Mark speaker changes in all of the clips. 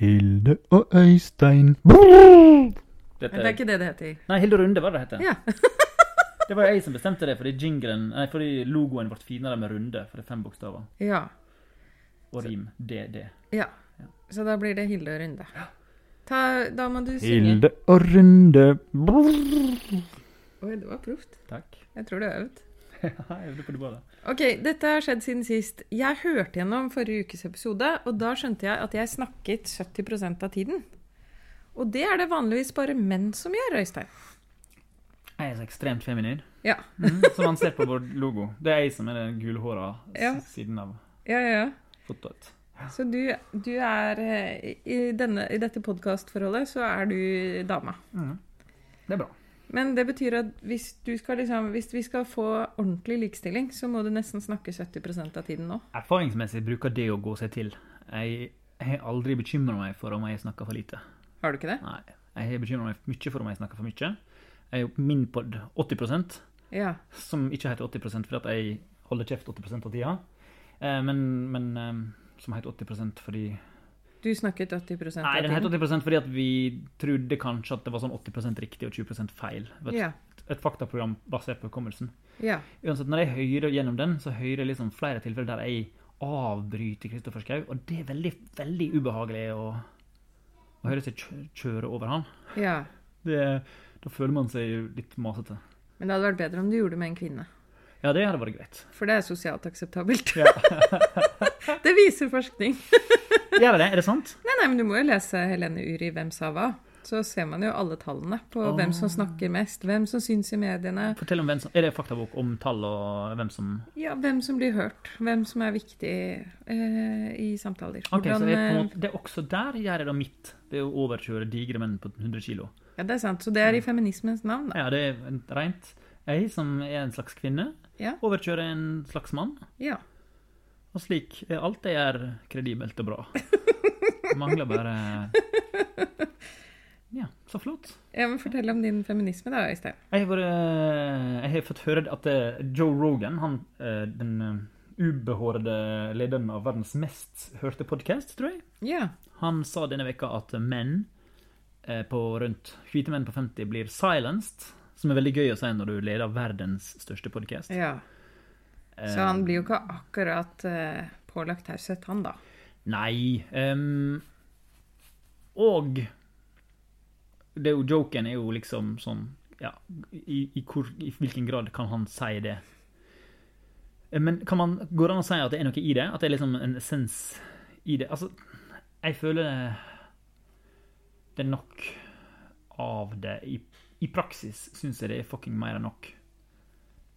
Speaker 1: Hilde og Øystein.
Speaker 2: Men det er
Speaker 3: Dette,
Speaker 2: ikke det det heter.
Speaker 3: nei, Hilde Runde var det det het.
Speaker 2: Ja.
Speaker 3: Det var jo jeg som bestemte det fordi, jinglen, nei, fordi logoen ble finere med runde. For det er fem bokstaver.
Speaker 2: ja.
Speaker 3: Og rim. DD.
Speaker 2: Ja. Så da blir det Hilde Runde. Ta, da må du synge.
Speaker 1: Hilde og Runde.
Speaker 2: Oi, det var proft.
Speaker 3: Takk.
Speaker 2: Jeg tror det er øvd.
Speaker 3: jeg øvde på det bra, da.
Speaker 2: Ok, dette har skjedd siden sist. Jeg hørte gjennom forrige ukes episode, og da skjønte jeg at jeg snakket 70 av tiden. Og det er det vanligvis bare menn som gjør, Øystein.
Speaker 3: Jeg er så ekstremt feminin.
Speaker 2: Ja.
Speaker 3: Mm, som man ser på vår logo. Det er jeg som er den gulhåra s-
Speaker 2: Ja.
Speaker 3: siden av
Speaker 2: Ja, ja, ja.
Speaker 3: fotot.
Speaker 2: Så du, du er eh, I, denne, i dette podkastforholdet så er du dama.
Speaker 3: Det er bra.
Speaker 2: Men det betyr at hvis, du skal liksom, hvis vi skal få ordentlig likestilling, så må du nesten snakke 70 av tiden nå.
Speaker 3: Erfaringsmessig bruker det å gå seg til. Jeg har aldri bekymra meg for om jeg snakker for lite.
Speaker 2: Har du ikke det?
Speaker 3: Nei, Jeg har bekymra meg mye for om jeg snakker for mye. Jeg er jo min pod 80
Speaker 2: Ja.
Speaker 3: som ikke heter 80 fordi at jeg holder kjeft 80 av tida, Eh, men, men eh, som heter 80 fordi
Speaker 2: Du snakket 80 av
Speaker 3: Nei, den heter
Speaker 2: tiden.
Speaker 3: 80 fordi at vi trodde kanskje at det var sånn 80 riktig og 20 feil. Det var Et,
Speaker 2: Ja.
Speaker 3: et faktaprogram basert på hukommelsen.
Speaker 2: Ja.
Speaker 3: Uansett, når jeg hører gjennom den, så hører jeg liksom flere tilfeller der jeg avbryter Kristoffer Schau, og det er veldig, veldig ubehagelig å, å høre seg kjø- kjøre over han.
Speaker 2: ja.
Speaker 3: Det, da føler man seg jo litt masete.
Speaker 2: Men det hadde vært bedre om du gjorde det med en kvinne.
Speaker 3: Ja, det hadde vært greit.
Speaker 2: For det er sosialt akseptabelt.
Speaker 3: Ja.
Speaker 2: det viser forskning.
Speaker 3: Gjør det det? Er det sant?
Speaker 2: Nei, nei, men du må jo lese Helene Uri 'Hvem sa hva'. Så ser man jo alle tallene på hvem som snakker mest, hvem som syns i mediene,
Speaker 3: Fortell om hvem som, Er det faktabok om tall og hvem som
Speaker 2: ja, hvem som blir hørt, hvem som er viktig eh, i samtaler.
Speaker 3: Ok, så det er, på en
Speaker 2: eh,
Speaker 3: måte, det er også der gjør jeg da mitt. Det er å overkjøre digre menn på 100 kilo.
Speaker 2: ja, det er sant. Så det
Speaker 3: Mm.
Speaker 2: er i feminismens navn, da.
Speaker 3: Ja, det er rent. Jeg som er en slags kvinne,
Speaker 2: Ja.
Speaker 3: overkjører en slags mann.
Speaker 2: ja.
Speaker 3: Og slik er alt det er kredibelt og bra. Mangler bare Ja, så flott.
Speaker 2: Ja, men Fortell om din feminisme, da, Øystein.
Speaker 3: Jeg har, vært- jeg har fått høre at eh, Joe Rogan, han, eh, den eh, ubehårede lederen av verdens mest hørte podkast, tror jeg,
Speaker 2: Ja.
Speaker 3: han sa denne veka at menn eh, på rundt hvite menn på 50 blir silenced, som er veldig gøy å si når du leder verdens største podkast.
Speaker 2: ja. Så
Speaker 3: Eh.
Speaker 2: han blir jo ikke akkurat eh, pålagt taushet, han, da.
Speaker 3: Nei. ehm, og det er jo, joken er jo liksom sånn Ja, i, i, hvor, i hvilken grad kan han si det? Eh, Men kan man, går det an å si at det er noe i det? At det er liksom en essens i det? Altså, jeg føler det, det er nok av det. I, i praksis syns jeg det er fucking mer enn nok.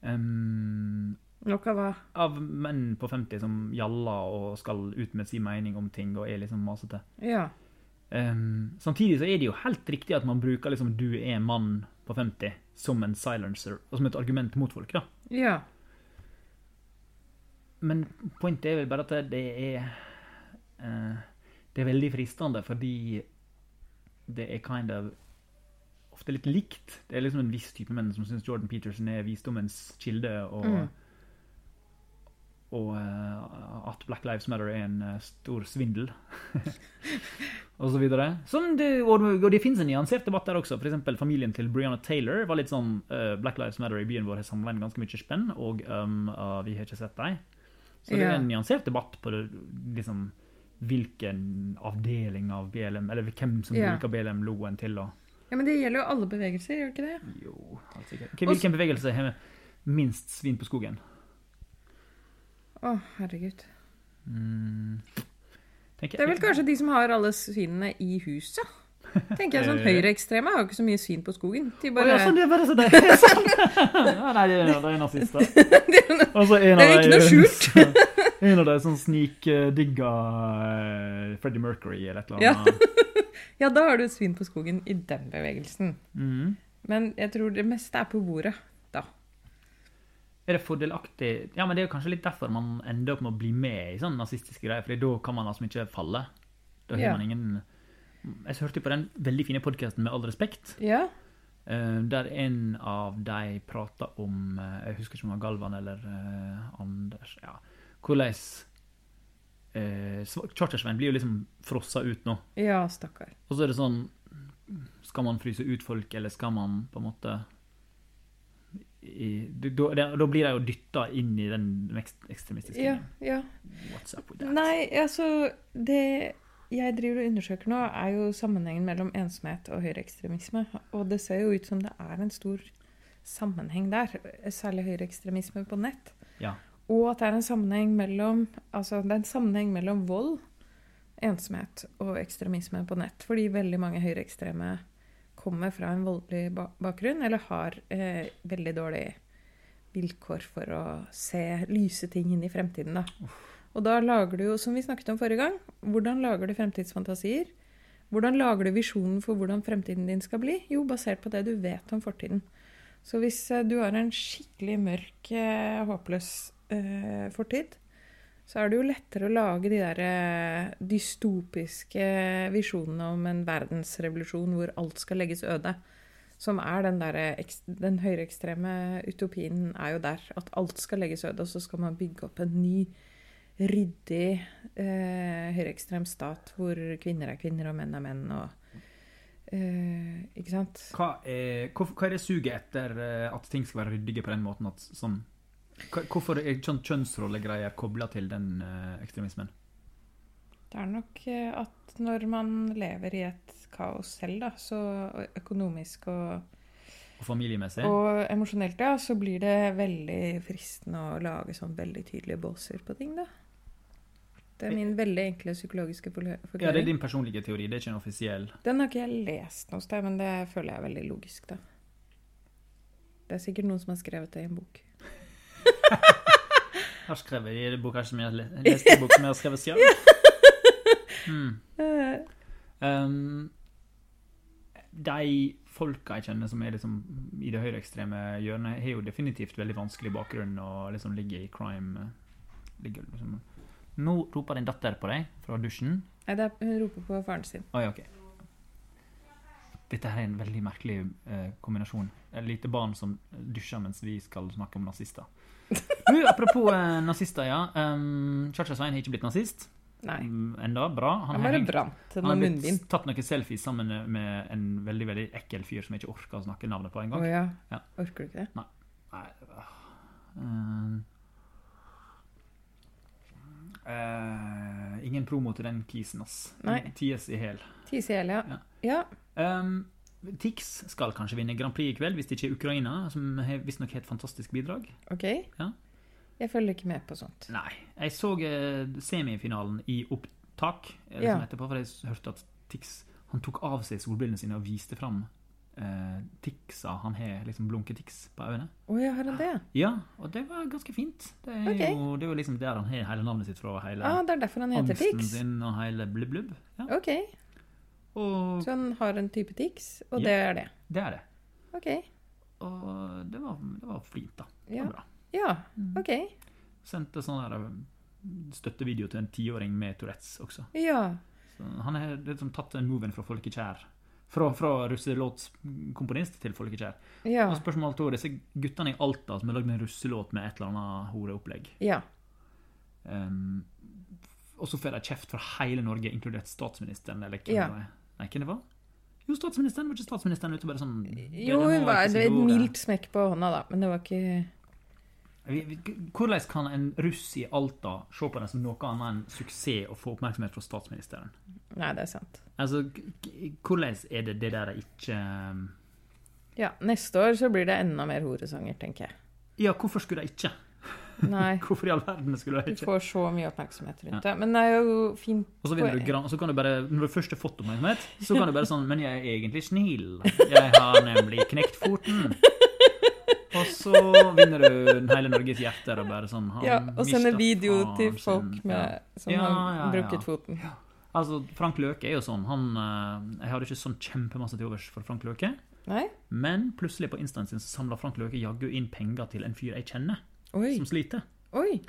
Speaker 3: Ehm,
Speaker 2: Nok av hva?
Speaker 3: av menn på 50 som gjaller og skal ut med sin mening om ting og er liksom masete.
Speaker 2: Ja.
Speaker 3: Ehm, samtidig så er det jo helt riktig at man bruker liksom 'du er mann på 50' som en silencer, og som et argument mot folk, da.
Speaker 2: Ja.
Speaker 3: Men pointet er vel bare at det er eh, Det er veldig fristende fordi det er kind of ofte litt likt. Det er liksom en viss type menn som syns Jordan Peterson er visdommens kilde, og
Speaker 2: Mm.
Speaker 3: og eh, at Black Lives Matter er en eh, stor svindel. og så videre. Sånn, det, og, og det finnes en nyansert debatt der også. For eksempel familien til Brianna Taylor var litt sånn eh, Black Lives Matter i byen vår har samla inn ganske mye spenn, og um, ah, vi har ikke sett dem. Så det er
Speaker 2: Ja.
Speaker 3: en nyansert debatt på det, liksom, hvilken avdeling av BLM, eller hvem som
Speaker 2: Ja.
Speaker 3: bruker BLM-logoen til. Og,
Speaker 2: ja. Men det gjelder jo alle bevegelser, gjør det ikke det?
Speaker 3: jo, helt sikkert. Ok, Hvilken bevegelse har minst svin på skogen?
Speaker 2: Å, herregud.
Speaker 3: Mm, tenker
Speaker 2: Det er
Speaker 3: jeg.
Speaker 2: vel kanskje de som har alle svinene i huset. Tenker jeg sånn
Speaker 3: Eh.
Speaker 2: Høyreekstreme har jo ikke så mye svin på skogen. De
Speaker 3: Å,
Speaker 2: bare,
Speaker 3: ja, sånn, det er bare sånn, det er sånn. Ja, nei, det er en av de nazister. Og så en
Speaker 2: det er
Speaker 3: av
Speaker 2: ikke
Speaker 3: de-
Speaker 2: noe skjult.
Speaker 3: En av de som snikdigga Freddie Mercury eller et eller annet.
Speaker 2: Ja, da har du et svin på skogen i den bevegelsen.
Speaker 3: Mhm.
Speaker 2: Men jeg tror det meste er på bordet, da.
Speaker 3: Er det fordelaktig Ja, men det er jo kanskje litt derfor man ender opp med å bli med i sånne nazistiske greier, Fordi da kan man altså ikke falle. Da har
Speaker 2: Ja.
Speaker 3: man ingen Jeg hørte på den veldig fine podkasten Med all respekt,
Speaker 2: Ja,
Speaker 3: eh, der en av de prata om eh, Jeg husker ikke om det var Galvan eller eh, Anders ja, Hvordan eh, sva- Chartersveien blir jo liksom frossa ut nå.
Speaker 2: Ja, stakkar.
Speaker 3: Og så er det sånn Skal man fryse ut folk, eller skal man på en måte i, da, da- da blir de jo dytta inn i den mekst- ekstremistiske
Speaker 2: Ja, ja.
Speaker 3: What's up with that?
Speaker 2: Nei, altså Det jeg driver og undersøker nå, er jo sammenhengen mellom ensomhet og høyreekstremisme. Og det ser jo ut som det er en stor sammenheng der. Særlig høyreekstremisme på nett.
Speaker 3: Ja.
Speaker 2: Og at det er en sammenheng mellom Altså, det er en sammenheng mellom vold, ensomhet og ekstremisme på nett. Fordi veldig mange høyreekstreme kommer fra en voldelig ba bakgrunn, eller har eh, veldig dårlig vilkår for å se lyse ting inn i fremtiden, da. Og da lager du jo, som vi snakket om forrige gang, hvordan lager du fremtidsfantasier? Hvordan lager du visjonen for hvordan fremtiden din skal bli? Jo, basert på det du vet om fortiden. Så hvis eh, du har en skikkelig mørk, eh, håpløs eh, fortid, så er det jo lettere å lage de der eh, dystopiske visjonene om en verdensrevolusjon hvor alt skal legges øde. Som er den der eh, eks- Den høyreekstreme utopien er jo der. At alt skal legges øde, og så skal man bygge opp en ny, ryddig eh, høyreekstrem stat hvor kvinner er kvinner og menn er menn og eh, Ikke sant?
Speaker 3: Hva er, hvorfor- hva er det suget etter eh, at ting skal være ryddige på den måten? At, sånn, hva- hvorfor er kjønn, kjønnsrollegreier kobla til den eh, ekstremismen?
Speaker 2: Det er nok eh, at når man lever i et kaos selv, da, så og økonomisk og,
Speaker 3: Og familiemessig?
Speaker 2: og emosjonelt, ja, så blir det veldig fristende å lage sånn veldig tydelige båser på ting, da. Det er min veldig enkle psykologiske forkla-
Speaker 3: ja, det er
Speaker 2: forklaring.
Speaker 3: din personlige teori, det er ikke en offisiell.
Speaker 2: Den har ikke jeg lest noe sted, men det føler jeg er veldig logisk, da. Det er sikkert noen som har skrevet det i en bok.
Speaker 3: Her skrevet i boka som jeg le- leste i bok som jeg har skrevet selv. Mm.
Speaker 2: Eh,
Speaker 3: Um, de folka jeg kjenner som er liksom i det høyreekstreme hjørnet, har jo definitivt veldig vanskelig bakgrunn og liksom ligger i crime ligger liksom. Nå roper din datter på deg fra dusjen.
Speaker 2: Nei, det er, hun roper på faren sin.
Speaker 3: Oi, ok. Dette her er en veldig merkelig eh, kombinasjon. Et lite barn som dusjer mens vi skal snakke om nazister. Du, apropos eh, nazister, ja. Um, Kjartan Svein har ikke blitt nazist
Speaker 2: Nei.
Speaker 3: mm, enda. Bra. Han
Speaker 2: Han
Speaker 3: har
Speaker 2: bare
Speaker 3: hengt-
Speaker 2: brant
Speaker 3: han
Speaker 2: den
Speaker 3: har
Speaker 2: av
Speaker 3: blitt
Speaker 2: munnbind.
Speaker 3: tatt noen selfies sammen med en veldig veldig ekkel fyr som jeg ikke orker å snakke navnet på
Speaker 2: Å
Speaker 3: engang.
Speaker 2: ja.
Speaker 3: Ja.
Speaker 2: Orker du ikke det?
Speaker 3: Nei, øh. Ehm. Eh, ingen promo til den kisen, ass.
Speaker 2: Nei.
Speaker 3: Ties i hæl.
Speaker 2: Tise i hjel, ja.
Speaker 3: Ja.
Speaker 2: Ja.
Speaker 3: Ehm, Tix skal kanskje vinne Grand Prix i kveld, hvis det ikke er Ukraina, som har- visstnok har et fantastisk bidrag.
Speaker 2: Ok?
Speaker 3: Ja.
Speaker 2: Jeg følger ikke med på sånt.
Speaker 3: Nei. Jeg så eh, semifinalen i opptak eh, liksom
Speaker 2: Ja.
Speaker 3: etterpå, for jeg s- hørte at Tix han tok av seg solbrillene sine og viste fram eh, Tixa. Han har liksom blunketics på øynene.
Speaker 2: Å ja, har han det?
Speaker 3: Ja, og det var ganske fint. Det er,
Speaker 2: Ok.
Speaker 3: jo, det er jo liksom der han har hele navnet sitt fra, og hele
Speaker 2: Ah, det er derfor han heter
Speaker 3: angsten
Speaker 2: Tix?
Speaker 3: sin og hele blubb-blubb. Ja.
Speaker 2: Ok,
Speaker 3: Og
Speaker 2: så han har en type Tix, og
Speaker 3: Ja.
Speaker 2: det er det.
Speaker 3: det er det.
Speaker 2: Ok.
Speaker 3: Og det var, det var fint, da. Det
Speaker 2: Ja.
Speaker 3: var bra.
Speaker 2: Ja,
Speaker 3: Mm.
Speaker 2: ok.
Speaker 3: Sendte sånn der eh, støttevideo til en tiåring med Tourettes også.
Speaker 2: Ja.
Speaker 3: Så han har liksom tatt den moven fra folkekjær. Fra, fra russelåtskomponist til folkekjær.
Speaker 2: Ja.
Speaker 3: Og spørsmål to er disse guttene i Alta som har lagd en russelåt med et eller annet horeopplegg.
Speaker 2: Ja.
Speaker 3: Um, og så får de kjeft fra hele Norge, inkludert statsministeren. Eller hvem
Speaker 2: Ja.
Speaker 3: det var. Nei, hvem det var? Jo, statsministeren. Var ikke statsministeren ute og bare sånn det-
Speaker 2: Jo,
Speaker 3: det
Speaker 2: hun
Speaker 3: må
Speaker 2: var
Speaker 3: ikke
Speaker 2: det
Speaker 3: si
Speaker 2: var et
Speaker 3: ordet.
Speaker 2: mildt smekk på hånda, da, men det var ikke
Speaker 3: Vi- vi- Hvordan kan en russ i Alta se på det som noe annet enn suksess og få oppmerksomhet fra statsministeren?
Speaker 2: Nei, det er sant.
Speaker 3: Altså, k- k- hvordan er det det der er ikke um,
Speaker 2: Ja, neste år så blir det enda mer horesanger, tenker jeg.
Speaker 3: Ja, hvorfor skulle de ikke?
Speaker 2: Nei.
Speaker 3: Hvorfor i all verden skulle de
Speaker 2: Du
Speaker 3: ikke?
Speaker 2: får så mye oppmerksomhet rundt det. Men det er jo fint
Speaker 3: Og så, vinner du,
Speaker 2: poeng.
Speaker 3: gran- så kan du bare, når du først har fått oppmerksomhet, så kan du bare sånn Men jeg er egentlig snill. Jeg har nemlig knekt foten. Og så vinner du hele Norges hjerter og bare sånn han
Speaker 2: Ja, og sende
Speaker 3: mistet
Speaker 2: video
Speaker 3: faren
Speaker 2: til folk
Speaker 3: sin. Ja.
Speaker 2: med, som
Speaker 3: Ja, ja, ja.
Speaker 2: har brukket foten.
Speaker 3: Altså, Frank Løke er jo sånn. Han, eh, jeg hadde ikke sånn kjempemasse til overs for Frank Løke.
Speaker 2: Nei?
Speaker 3: Men plutselig på Instaen sin så samla Frank Løke jaggu inn penger til en fyr jeg kjenner,
Speaker 2: Oi.
Speaker 3: som sliter.
Speaker 2: Oi.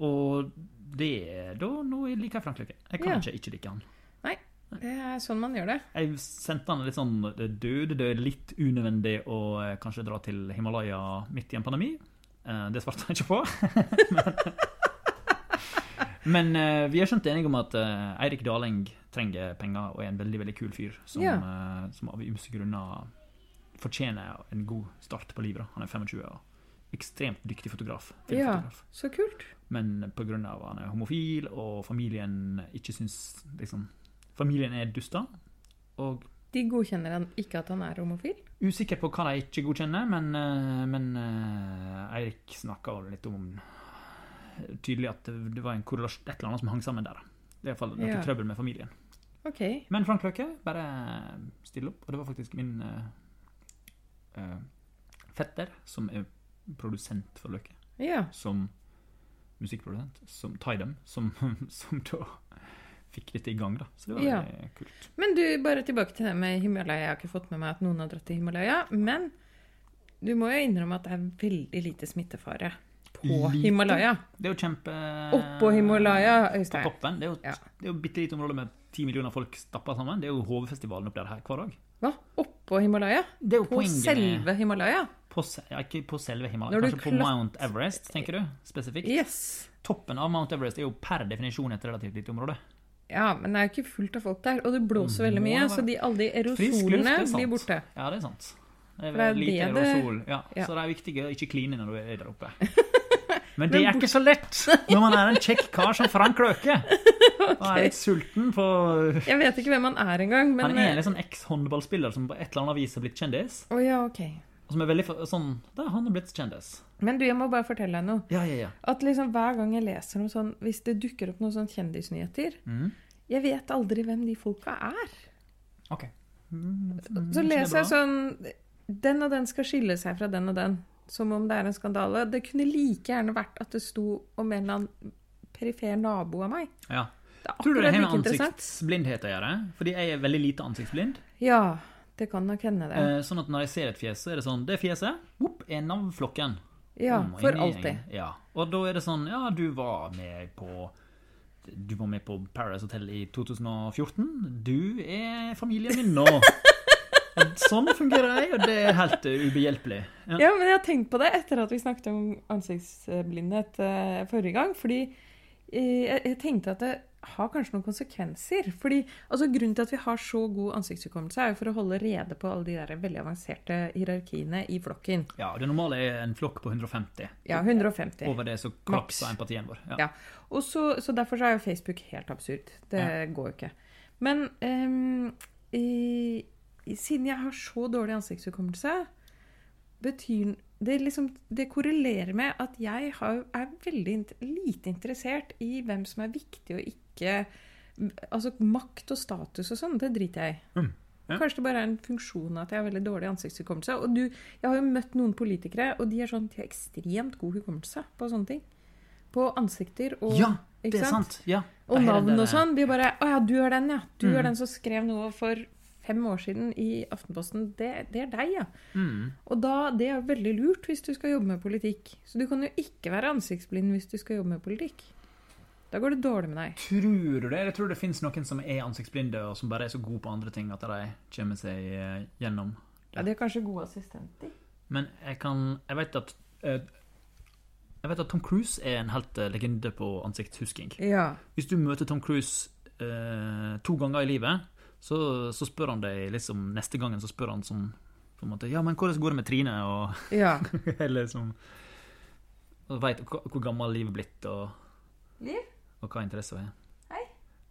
Speaker 3: Og det er da Nå liker jeg Frank Løke. Jeg kan
Speaker 2: Ja.
Speaker 3: ikke ikke like han.
Speaker 2: Nei. Det er sånn man gjør det.
Speaker 3: Jeg sendte han litt sånn død. Det er litt unødvendig å eh, kanskje dra til Himalaya midt i en pandemi. Eh, Det svarte han ikke på. Men Men eh, vi er skjønt enige om at eh, Eirik Daleng trenger penger og er en veldig veldig kul fyr som,
Speaker 2: Ja.
Speaker 3: eh, som av ymse grunner fortjener en god start på livet. Da. Han er 25 og ekstremt dyktig fotograf.
Speaker 2: Ja.
Speaker 3: filmfotograf.
Speaker 2: Så kult.
Speaker 3: Men pga. at han er homofil, og familien ikke syns liksom, Familien er duster. Og
Speaker 2: De godkjenner han ikke at han er homofil.
Speaker 3: usikker på hva de ikke godkjenner, men, eh, men eh, Eirik snakka litt om eh, Tydelig at det var en korrelasjon, et eller annet som hang sammen der. da. Det er iallfall noe
Speaker 2: Ja.
Speaker 3: trøbbel med familien.
Speaker 2: Ok.
Speaker 3: Men Frank Løke bare stiller opp, og det var faktisk min eh, eh, fetter, som er produsent for Løke,
Speaker 2: Ja.
Speaker 3: som musikkprodusent, som Tidem, som, som da fikk dette i gang, da. Så det var
Speaker 2: Ja.
Speaker 3: veldig kult.
Speaker 2: Men du, bare tilbake til det med Himalaya. Jeg har ikke fått med meg at noen har dratt til Himalaya. Men du må jo innrømme at det er veldig lite smittefare på
Speaker 3: Lite?
Speaker 2: Himalaya.
Speaker 3: Det er jo kjempe...
Speaker 2: Oppå Himalaya,
Speaker 3: På
Speaker 2: Øystein.
Speaker 3: toppen. Det er jo,
Speaker 2: Ja.
Speaker 3: det er jo bitte lite område med ti millioner folk stappa sammen. Det er jo hovedfestivalen opp der her hver dag.
Speaker 2: Hva? Oppå Himalaya?
Speaker 3: Det er jo
Speaker 2: På
Speaker 3: poenget med-
Speaker 2: selve Himalaya?
Speaker 3: På, se- ja, ikke på selve Himalaya,
Speaker 2: Når du
Speaker 3: kanskje på
Speaker 2: klat-
Speaker 3: Mount Everest, tenker du? Spesifikt.
Speaker 2: Yes.
Speaker 3: Toppen av Mount Everest er jo per definisjon et relativt lite område.
Speaker 2: Ja, men det er jo ikke fullt av folk der. Og det blåser veldig mye, så de, alle de
Speaker 3: Mm. Frisk luft,
Speaker 2: aerosolene
Speaker 3: det er sant.
Speaker 2: blir borte.
Speaker 3: Ja, det er sant. Det er
Speaker 2: For det er
Speaker 3: lite
Speaker 2: det det-
Speaker 3: aerosol. Ja.
Speaker 2: Ja.
Speaker 3: Så det er viktig å ikke kline når du er der oppe. Men det er ikke så lett når man er en kjekk kar som Frank Løke. Og er litt sulten på
Speaker 2: Jeg vet ikke hvem han er engang, men eh,
Speaker 3: Han er en litt sånn eks-håndballspiller som på et eller annet vis har blitt kjendis.
Speaker 2: Å ja, ok.
Speaker 3: Og som er veldig for- sånn Da, han har blitt kjendis.
Speaker 2: Men du, jeg må bare fortelle deg noe.
Speaker 3: Ja, ja, ja.
Speaker 2: At liksom hver gang jeg leser noe sånn Hvis det dukker opp noen sånn kjendisnyheter
Speaker 3: Mhm.
Speaker 2: Jeg vet aldri hvem de folka er.
Speaker 3: OK.
Speaker 2: Så
Speaker 3: Mm, det er
Speaker 2: leser jeg
Speaker 3: bra.
Speaker 2: sånn Den og den skal skille seg fra den og den. Som om det er en skandale. Det kunne like gjerne vært at det sto om en eller annen perifer nabo av meg.
Speaker 3: Ja.
Speaker 2: Det er
Speaker 3: Tror du det
Speaker 2: akkurat
Speaker 3: har med
Speaker 2: like interessant.
Speaker 3: ansiktsblindhet å gjøre? Fordi jeg er veldig lite ansiktsblind.
Speaker 2: Ja, det kan nok hende, det.
Speaker 3: Eh, Sånn at når jeg ser et fjes, så er det sånn Det fjeset whoop, er navnflokken.
Speaker 2: Ja,
Speaker 3: Om og
Speaker 2: for
Speaker 3: inn i
Speaker 2: alltid.
Speaker 3: gjengen. Ja. Og da er det sånn Ja, du var med på Du var med på Paradise Hotel i 2014. Du er familien min nå. Og sånn fungerer jeg, og det er helt eh, ubehjelpelig. Ja.
Speaker 2: Ja, men jeg har tenkt på det etter at vi snakket om ansiktsblindhet eh, forrige gang. Fordi eh, jeg jeg tenkte at det har kanskje noen konsekvenser. Fordi altså, Grunnen til at vi har så god ansiktshukommelse, er jo for å holde rede på alle de der veldig avanserte hierarkiene i flokken.
Speaker 3: ja, det normale er en flokk på 150.
Speaker 2: Ja, 150.
Speaker 3: Over det så
Speaker 2: Maks.
Speaker 3: kollapser empatien vår. Ja.
Speaker 2: Ja. Og så, så derfor så er jo Facebook helt absurd. Det
Speaker 3: Ja.
Speaker 2: går jo ikke. Men ehm, i, i- siden jeg har så dårlig ansiktshukommelse, betyr det liksom Det korrelerer med at jeg har, er veldig int- lite interessert i hvem som er viktig og ikke Altså makt og status og sånn, det driter jeg i.
Speaker 3: Ja.
Speaker 2: Kanskje det bare er en funksjon at jeg har veldig dårlig ansiktshukommelse. Og du, jeg har jo møtt noen politikere, og de er sånn, de har ekstremt god hukommelse på sånne ting. På ansikter og
Speaker 3: Ja,
Speaker 2: ikke
Speaker 3: det er sant. Ja.
Speaker 2: Og
Speaker 3: Det her er
Speaker 2: navn
Speaker 3: den
Speaker 2: og
Speaker 3: der-
Speaker 2: sånn. De bare Å ja, du er den, ja. Du
Speaker 3: Mm.
Speaker 2: er den som skrev noe for fem år siden i Aftenposten. Det, det er deg, ja.
Speaker 3: Mm.
Speaker 2: Og da, det er veldig lurt hvis du skal jobbe med politikk. Så du kan jo ikke være ansiktsblind hvis du skal jobbe med politikk. Da går det dårlig med deg.
Speaker 3: Tror du det? Jeg tror det finnes noen som er ansiktsblinde, og som bare er så gode på andre ting at de kommer seg eh, gjennom.
Speaker 2: Ja, De er kanskje gode assistenter.
Speaker 3: Men jeg kan Jeg vet at eh, Jeg vet at Tom Cruise er en helt eh, legende på ansiktshusking.
Speaker 2: Ja.
Speaker 3: Hvis du møter Tom Cruise eh, to ganger i livet, så, så spør han deg liksom Neste gangen så spør han som på en måte, Ja, men hvordan går det med Trine? Og,
Speaker 2: Ja.
Speaker 3: eller som Og veit hvor, hvor gammel livet er blitt, og
Speaker 2: Liv?
Speaker 3: og hva interesser hun har.
Speaker 2: Hei.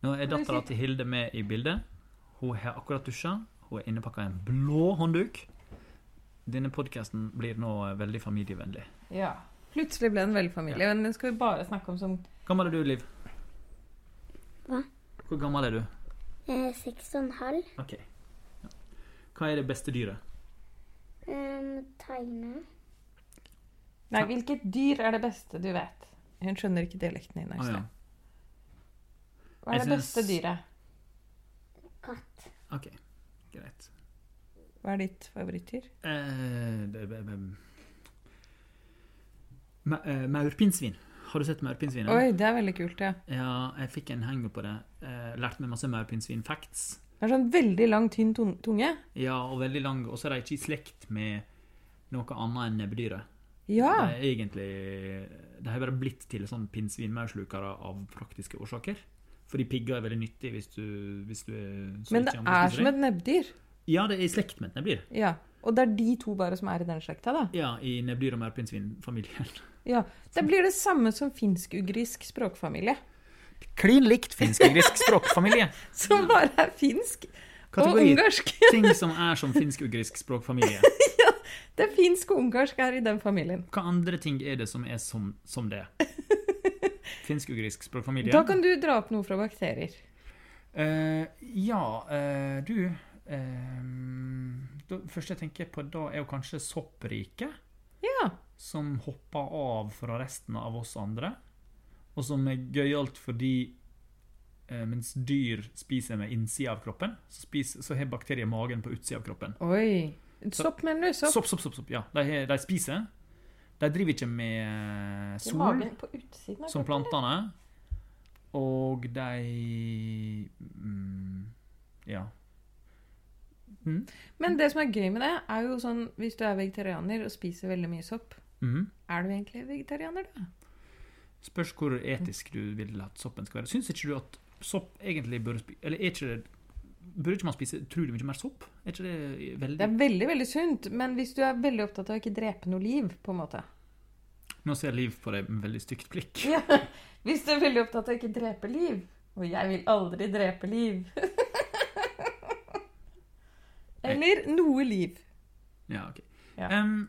Speaker 3: Nå er
Speaker 2: Hva vil du
Speaker 3: dattera til Hilde med i bildet. Hun har akkurat dusja. Hun er innepakka i en blå håndduk. Denne podkasten blir nå eh, veldig familievennlig.
Speaker 2: Ja. Plutselig ble den veldig familie, men den skal vi bare snakke om som
Speaker 3: Gammel er du, Liv?
Speaker 4: Hva?
Speaker 3: Hvor gammel er du?
Speaker 4: Eh, Seks og en halv.
Speaker 3: Ok. Ja. Hva er det beste dyret?
Speaker 4: Um, tegne.
Speaker 2: Nei, hvilket dyr er det beste du vet? Hun skjønner ikke dialekten din.
Speaker 3: Å, ja.
Speaker 2: Øystein. Hva er
Speaker 3: Jeg
Speaker 2: det beste
Speaker 3: syns-
Speaker 2: dyret?
Speaker 4: Katt.
Speaker 3: Ok, greit.
Speaker 2: Hva er ditt favorittdyr?
Speaker 3: Eh, det- det- det- Ma- eh, Maurpinnsvin. Har du sett maurpinnsvin? eller?
Speaker 2: Oi, det er veldig kult, ja.
Speaker 3: Ja, jeg fikk en henge på det. Eh, lærte meg masse maurpinnsvin-facts.
Speaker 2: Det er sånn veldig lang, tynn tun- tunge.
Speaker 3: Ja, og veldig lang. Og så er de ikke i slekt med noe annet enn nebbedyret.
Speaker 2: Ja!
Speaker 3: Det er egentlig De har bare blitt til sånn pinnsvinmaurslukere av praktiske årsaker. Fordi pigger er veldig nyttig hvis du, hvis du er så
Speaker 2: Men det
Speaker 3: ikke andre
Speaker 2: er
Speaker 3: spiser
Speaker 2: som
Speaker 3: det.
Speaker 2: et nebbdyr.
Speaker 3: Ja, det er i slekt med et nebbdyr.
Speaker 2: Ja. Og det er de to bare som er i den slekta, da.
Speaker 3: Ja, i nebbdyr- og maurpinnsvinfamilien.
Speaker 2: Ja. Det blir det samme som finsk-ugrisk språkfamilie.
Speaker 3: Klin likt finsk-ugrisk språkfamilie.
Speaker 2: Som bare er finsk og
Speaker 3: Kategori.
Speaker 2: ungarsk.
Speaker 3: Ting som er som finsk-ugrisk språkfamilie.
Speaker 2: Det er finsk og ungarsk er i den familien.
Speaker 3: Hva andre ting er det som er som, som det? Finsk-ugrisk språkfamilie?
Speaker 2: Da kan du dra opp noe fra bakterier.
Speaker 3: Eh, ja, eh, du eh, Det første jeg tenker på da, er jo kanskje soppriket.
Speaker 2: Ja.
Speaker 3: Som hopper av fra resten av oss andre. Og som er gøyalt fordi eh, mens dyr spiser med innsida av kroppen, så, spiser, så har bakterier magen på utsida av kroppen.
Speaker 2: Oi. Sopp, mener du? Sopp.
Speaker 3: Sopp, sopp, sopp. sopp ja. de, har- de spiser. De driver ikke med eh,
Speaker 2: I
Speaker 3: sol,
Speaker 2: magen på utsiden av
Speaker 3: som
Speaker 2: kroppen.
Speaker 3: plantene. Og de mm, Ja.
Speaker 2: Men det som er gøy med det, er jo sånn hvis du er vegetarianer og spiser veldig mye sopp,
Speaker 3: Mhm.
Speaker 2: er du egentlig vegetarianer da?
Speaker 3: Spørs hvor etisk du vil at soppen skal være. Syns ikke du at sopp egentlig bør spi- Eller er ikke det Burde ikke man spise utrolig mye mer sopp? Er ikke det
Speaker 2: Det
Speaker 3: veldig
Speaker 2: er veldig, veldig sunt, men hvis du er veldig opptatt av å ikke drepe noe liv, på en måte
Speaker 3: Nå ser Liv på deg med veldig stygt blikk.
Speaker 2: ja. Hvis du er veldig opptatt av å ikke drepe liv, og jeg vil aldri drepe liv Eller noe liv.
Speaker 3: Ja, ok.
Speaker 2: Ja.
Speaker 3: Em,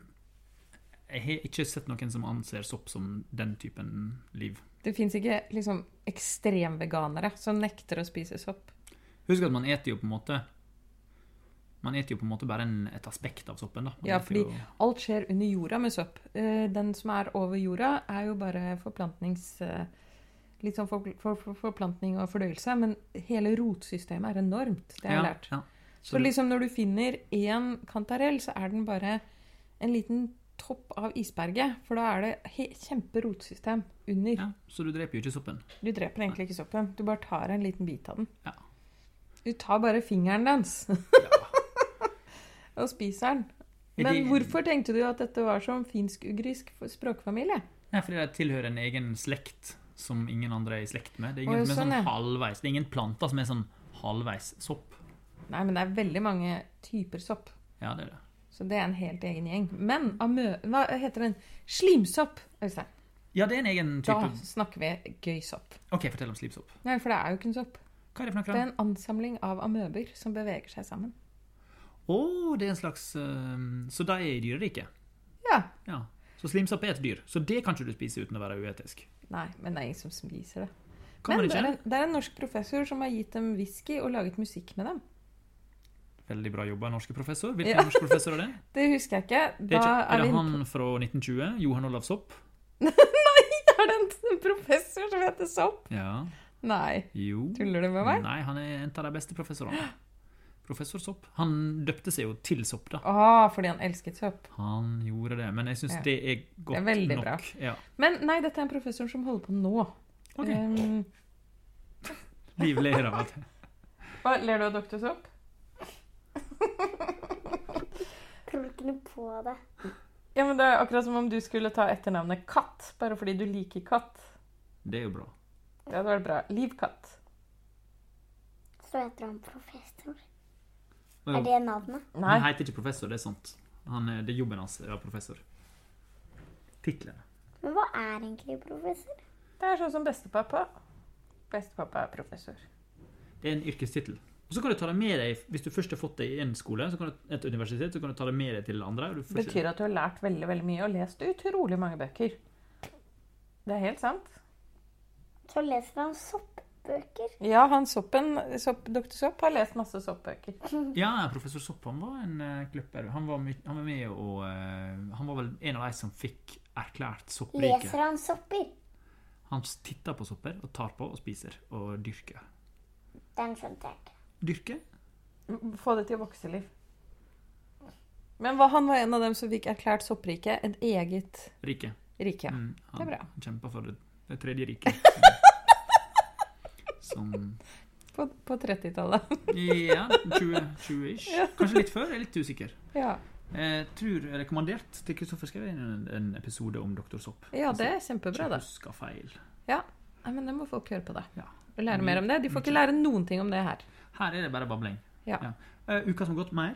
Speaker 3: jeg har ikke sett noen som anser sopp som den typen liv.
Speaker 2: Det fins ikke liksom ekstremveganere som nekter å spise sopp.
Speaker 3: Husk at man eter jo på en måte Man eter jo på en måte bare en, et aspekt av soppen, da. Man
Speaker 2: Ja,
Speaker 3: eter
Speaker 2: fordi
Speaker 3: jo-
Speaker 2: alt skjer under jorda med sopp. Eh, Den som er over jorda, er jo bare forplantnings... eh, Litt sånn for, for, for, forplantning og fordøyelse, men hele rotsystemet er enormt. Det har jeg
Speaker 3: Ja,
Speaker 2: lært.
Speaker 3: ja.
Speaker 2: Så liksom når du finner én kantarell, så er den bare en liten topp av isberget. For da er det he kjemperotsystem under.
Speaker 3: ja, så du dreper jo ikke soppen.
Speaker 2: Du dreper egentlig ikke soppen. Du bare tar en liten bit av den.
Speaker 3: Ja.
Speaker 2: Du tar bare fingeren dens
Speaker 3: Ja.
Speaker 2: og spiser den.
Speaker 3: Er
Speaker 2: Men
Speaker 3: det-
Speaker 2: hvorfor tenkte du at dette var som finsk-ugrisk språkfamilie?
Speaker 3: Nei, fordi de tilhører en egen slekt som ingen andre er i slekt med. Det er
Speaker 2: Å,
Speaker 3: ingen,
Speaker 2: ja,
Speaker 3: som er
Speaker 2: sånn,
Speaker 3: sånn
Speaker 2: ja.
Speaker 3: halvveis. Det er ingen planter som er sånn halvveis sopp.
Speaker 2: Nei, men det er veldig mange typer sopp.
Speaker 3: Ja, det er det.
Speaker 2: Så det er en helt egen gjeng. Men amø... Hva heter den? Slimsopp, Øystein.
Speaker 3: Ja, det er en egen
Speaker 2: Da
Speaker 3: type.
Speaker 2: snakker vi gøy sopp.
Speaker 3: Ok, fortell om slipsopp.
Speaker 2: Nei, for det er jo ikke en sopp.
Speaker 3: Hva er det for noe?
Speaker 2: Det er
Speaker 3: Å,
Speaker 2: en ansamling av amøber som beveger seg sammen.
Speaker 3: det er en slags... øhm, så de er i dyreriket.
Speaker 2: Ja.
Speaker 3: Ja. Så slimsopp er et dyr. Så det kan ikke du spise uten å være uetisk.
Speaker 2: Nei, men det er ingen som spiser det.
Speaker 3: Kan
Speaker 2: men
Speaker 3: man
Speaker 2: det, er
Speaker 3: ikke?
Speaker 2: en, det er en norsk professor som har gitt dem whisky og laget musikk med dem.
Speaker 3: Veldig bra jobba, norske professor. Hvilken
Speaker 2: Ja.
Speaker 3: norske professor er det?
Speaker 2: Det husker jeg ikke.
Speaker 3: Det er,
Speaker 2: Da
Speaker 3: ikke, er
Speaker 2: er,
Speaker 3: det
Speaker 2: vi
Speaker 3: han fra 1920? Johan Olav Sopp?
Speaker 2: er det en professor som heter Sopp?
Speaker 3: Ja.
Speaker 2: Nei.
Speaker 3: Jo.
Speaker 2: Tuller du med meg?
Speaker 3: Nei, han er en av de beste professorene. Professor Sopp. Han døpte seg jo til Sopp, da.
Speaker 2: Ah, fordi han elsket sopp.
Speaker 3: Han gjorde det, men jeg syns
Speaker 2: Ja.
Speaker 3: det er godt
Speaker 2: Det er veldig
Speaker 3: nok.
Speaker 2: bra.
Speaker 3: Ja.
Speaker 2: Men nei, dette er en professor som holder på nå.
Speaker 3: Ok.
Speaker 2: Um,
Speaker 3: Liv ler av at
Speaker 2: hva, ler du av Dr. Sopp?
Speaker 4: Kommer ikke noe på det.
Speaker 2: Ja, men Det er akkurat som om du skulle ta etternavnet Katt, bare fordi du liker katt.
Speaker 3: Det er jo bra.
Speaker 2: Det hadde vært bra. Liv Katt.
Speaker 4: Så heter han professor.
Speaker 3: Og
Speaker 4: Er det navnet?
Speaker 2: Nei.
Speaker 3: Han heter ikke professor, det er sant. Han er, det er jobben hans å være professor. Tittelen.
Speaker 4: Men hva er egentlig professor?
Speaker 2: Det er sånn som bestepappa. Bestepappa er professor.
Speaker 3: Det er en yrkestittel. Og så kan du ta det med deg, Hvis du først har fått det i en skole, så kan du, et universitet, så kan du ta det med deg til andre. og Du
Speaker 2: Det
Speaker 3: får ikke-
Speaker 2: betyr at du har lært veldig veldig mye og lest utrolig mange bøker. Det er helt sant.
Speaker 4: Så leser han soppbøker.
Speaker 2: Ja, han soppen, sopp, Dr. Sopp har lest masse soppbøker.
Speaker 3: Ja, professor Sopp han var en eh, kløpper. Han var, my- han var med og eh, Han var vel en av de som fikk erklært soppriket.
Speaker 4: Leser han sopper?
Speaker 3: Han titter på sopper og tar på og spiser og dyrker.
Speaker 4: Den skjønte jeg ikke.
Speaker 3: Dyrker?
Speaker 2: Få det til å vokse liv. Men hva, han var en av dem som fikk erklært soppriket et eget
Speaker 3: Rike.
Speaker 2: rike.
Speaker 3: Mm,
Speaker 2: det er bra.
Speaker 3: Han kjempa for det, det tredje riket. Som
Speaker 2: På, på 30-tallet.
Speaker 3: Ja, 20-ish. Kanskje litt før? Jeg er litt usikker.
Speaker 2: Ja.
Speaker 3: Jeg tror jeg rekommandert til Kristoffer skrev inn en, en episode om Dr. Sopp.
Speaker 2: Ja, det er kjempebra, da.
Speaker 3: Huska feil.
Speaker 2: Nei, men det må folk høre på, da.
Speaker 3: Ja. Mm.
Speaker 2: Og lære mer om det. De får ikke lære noen ting om det her.
Speaker 3: Her er det bare babling.
Speaker 2: Ja.
Speaker 3: Eh, uka som har gått mer.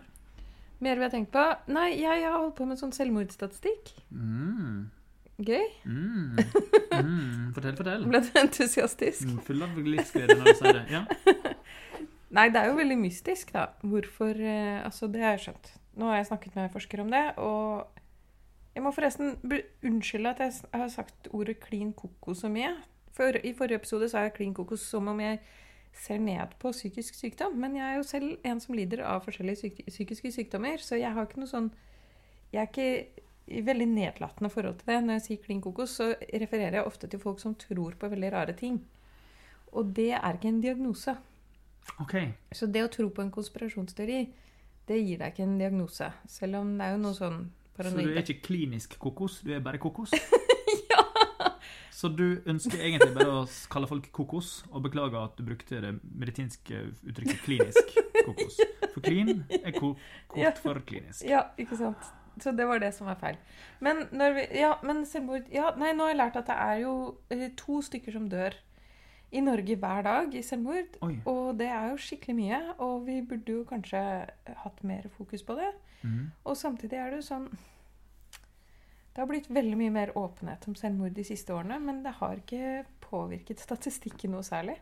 Speaker 2: Mer vi har tenkt på Nei, jeg har holdt på med sånn selvmordsstatistikk.
Speaker 3: Mm.
Speaker 2: Gøy.
Speaker 3: Mm. Mm. Fortell, fortell.
Speaker 2: Ble du entusiastisk?
Speaker 3: Mm, Full av livsglede når du sier det. Ja.
Speaker 2: Nei, det er jo veldig mystisk, da. Hvorfor eh, Altså, det har jeg skjønt. Nå har jeg snakket med en forsker om det, og jeg må forresten be- unnskylde at jeg s- har sagt ordet klin koko så mye. For I forrige episode sa jeg klin koko som om jeg ser ned på psykisk sykdom. Men jeg er jo selv en som lider av forskjellige syk psykiske sykdommer, så jeg har ikke noe sånn Jeg er ikke i veldig nedlatende forhold til det. Når jeg sier klin kokos, så refererer jeg ofte til folk som tror på veldig rare ting. Og det er ikke en diagnose.
Speaker 3: OK.
Speaker 2: Så det å tro på en konspirasjonsteori, det gir deg ikke en diagnose. Selv om det er jo noe sånn
Speaker 3: Så du er
Speaker 2: paranoid.
Speaker 3: ikke klinisk kokos, du er bare kokos?
Speaker 2: Ja!
Speaker 3: Så du ønsker egentlig bare å s- kalle folk kokos, og beklage at du brukte det medisinske uttrykket klinisk kokos. For klin er ko
Speaker 2: Ja.
Speaker 3: kort for klinisk.
Speaker 2: Ja, ikke sant. Så det var det som var feil. Men, når vi, ja, men selvmord ja, Nei, nå har jeg lært at det er jo eh, to stykker som dør i Norge hver dag i selvmord.
Speaker 3: Oi.
Speaker 2: Og det er jo skikkelig mye. Og vi burde jo kanskje hatt mer fokus på det.
Speaker 3: Mhm.
Speaker 2: Og samtidig er det jo sånn Det har blitt veldig mye mer åpenhet om selvmord de siste årene, men det har ikke påvirket statistikken noe særlig.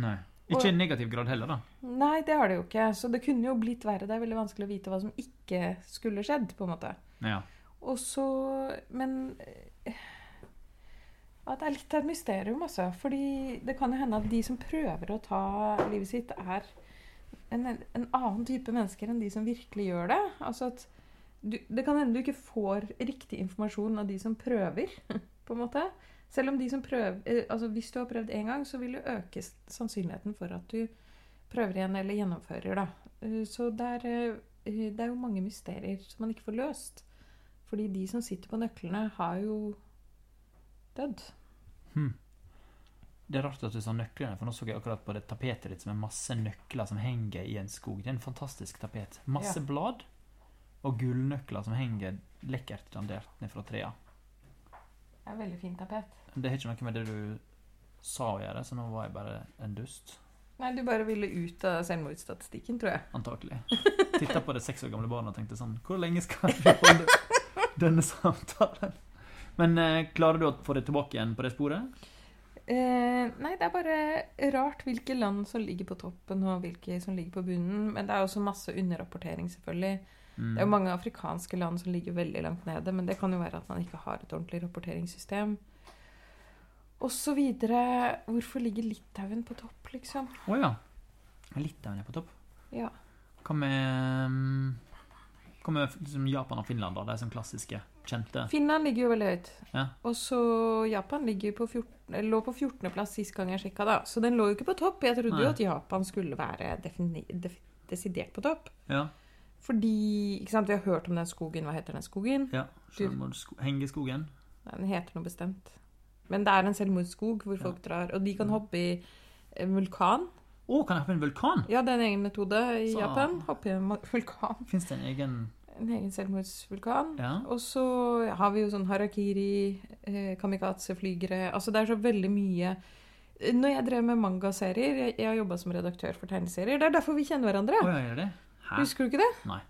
Speaker 3: Nei. Ikke i negativ grad heller, da.
Speaker 2: Nei, det har det jo ikke. Så det kunne jo blitt verre. Det er veldig vanskelig å vite hva som ikke skulle skjedd, på en måte.
Speaker 3: Ja.
Speaker 2: Og så Men eh, ja, det er litt av et mysterium, altså. Fordi det kan jo hende at de som prøver å ta livet sitt, er en, en annen type mennesker enn de som virkelig gjør det. Altså at du, Det kan hende du ikke får riktig informasjon av de som prøver, på en måte. Selv om de som prøver eh, Altså hvis du har prøvd én gang, så vil det øke s- sannsynligheten for at du prøver igjen eller gjennomfører, da. Eh, Så det er, eh, det er jo mange mysterier som man ikke får løst. Fordi de som sitter på nøklene, har jo dødd.
Speaker 3: Det er rart at du sa nøklene, for nå så jeg akkurat på det tapetet ditt som er masse nøkler som henger i en skog. Det er en fantastisk tapet. Masse
Speaker 2: Ja.
Speaker 3: blad og gullnøkler som henger lekkert dandert ned fra trærne.
Speaker 2: Det er veldig fint tapet.
Speaker 3: Det har ikke noe med det du sa å gjøre, så nå var jeg bare en dust.
Speaker 2: Nei, du bare ville ut av selvmordsstatistikken, tror jeg.
Speaker 3: Antakelig. Titta på det seks år gamle barnet og tenkte sånn Hvor lenge skal vi holde denne samtalen? Men eh, klarer du å få det tilbake igjen på det sporet?
Speaker 2: Eh, nei, det er bare rart hvilke land som ligger på toppen, og hvilke som ligger på bunnen. Men det er også masse underrapportering, selvfølgelig. Det
Speaker 3: Mm.
Speaker 2: er jo mange afrikanske land som ligger veldig langt nede, men det kan jo være at man ikke har et ordentlig rapporteringssystem. Og så videre. Hvorfor ligger Litauen på topp, liksom?
Speaker 3: Å ja. Litauen er på topp.
Speaker 2: Ja.
Speaker 3: Hva med mm, Hva med liksom Japan og Finland, da? De som klassiske, kjente?
Speaker 2: Finland ligger jo veldig høyt.
Speaker 3: Ja.
Speaker 2: Og så Japan ligger på 14, eller lå på 14. plass sist gang jeg sjekka, da. Så den lå jo ikke på topp. Jeg trodde
Speaker 3: Nei.
Speaker 2: jo at Japan skulle være defini- def desidert på topp.
Speaker 3: Ja.
Speaker 2: Fordi ikke sant, Vi har hørt om den skogen. Hva heter den skogen?
Speaker 3: ja. Selvmordssko- Hengeskogen?
Speaker 2: Nei, Den heter noe bestemt. Men det er en selvmordsskog hvor folk drar. Og de kan hoppe i en vulkan.
Speaker 3: Å, kan jeg hoppe i en vulkan?
Speaker 2: Ja, det er en egen metode i
Speaker 3: Så-
Speaker 2: Japan. Hoppe i en ma- vulkan.
Speaker 3: Fins det en egen
Speaker 2: En egen selvmordsvulkan.
Speaker 3: Ja.
Speaker 2: Og så har vi jo sånn harakiri, eh, kamikaze-flygere Altså det er så veldig mye Når jeg drev med mangaserier Jeg, jeg har jobba som redaktør for tegneserier. Det er derfor vi kjenner hverandre.
Speaker 3: Å ja, gjør det? Hæ?
Speaker 2: Husker du ikke det?
Speaker 3: Nei.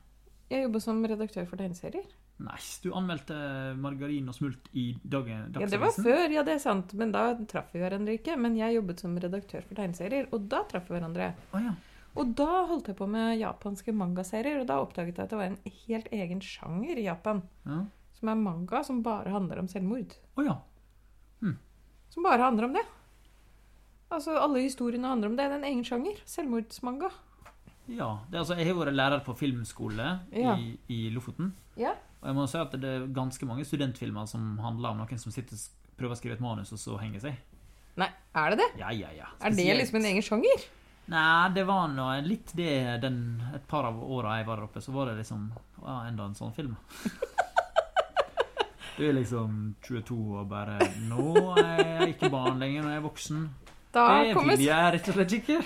Speaker 2: Jeg jobba som redaktør for tegneserier.
Speaker 3: Nei, du anmeldte margarin og smult i eh, dagen,
Speaker 2: Ja, det var før, ja, det er sant. Men da traff vi hverandre ikke. Men jeg jobbet som redaktør for tegneserier, og da traff vi hverandre.
Speaker 3: Å ja.
Speaker 2: Og da holdt jeg på med japanske mangaserier, og da oppdaget jeg at det var en helt egen sjanger i Japan.
Speaker 3: ja.
Speaker 2: Som er manga som bare handler om selvmord.
Speaker 3: Å ja.
Speaker 2: Som bare handler om det. Altså, Alle historiene handler om det. Det er en egen sjanger. Selvmordsmanga.
Speaker 3: Ja. Det, er altså, jeg har vært lærer på filmskole
Speaker 2: Ja.
Speaker 3: i, i Lofoten.
Speaker 2: Ja.
Speaker 3: Og jeg må si at det er ganske mange studentfilmer som handler om noen som sitter og s- prøver å skrive et manus, og så henger seg.
Speaker 2: Nei, er det det?
Speaker 3: Ja, ja, ja.
Speaker 2: Er det
Speaker 3: Spesielt-
Speaker 2: liksom en egen sjanger?
Speaker 3: Nei, det var nå litt det den, et par av åra jeg var der oppe, så var det liksom ja, enda en sånn film. Du er liksom 22 og bare Nå er jeg ikke barn lenger, nå er jeg voksen.
Speaker 2: Da
Speaker 3: Det
Speaker 2: kommer
Speaker 3: vil jeg rett og slett ikke.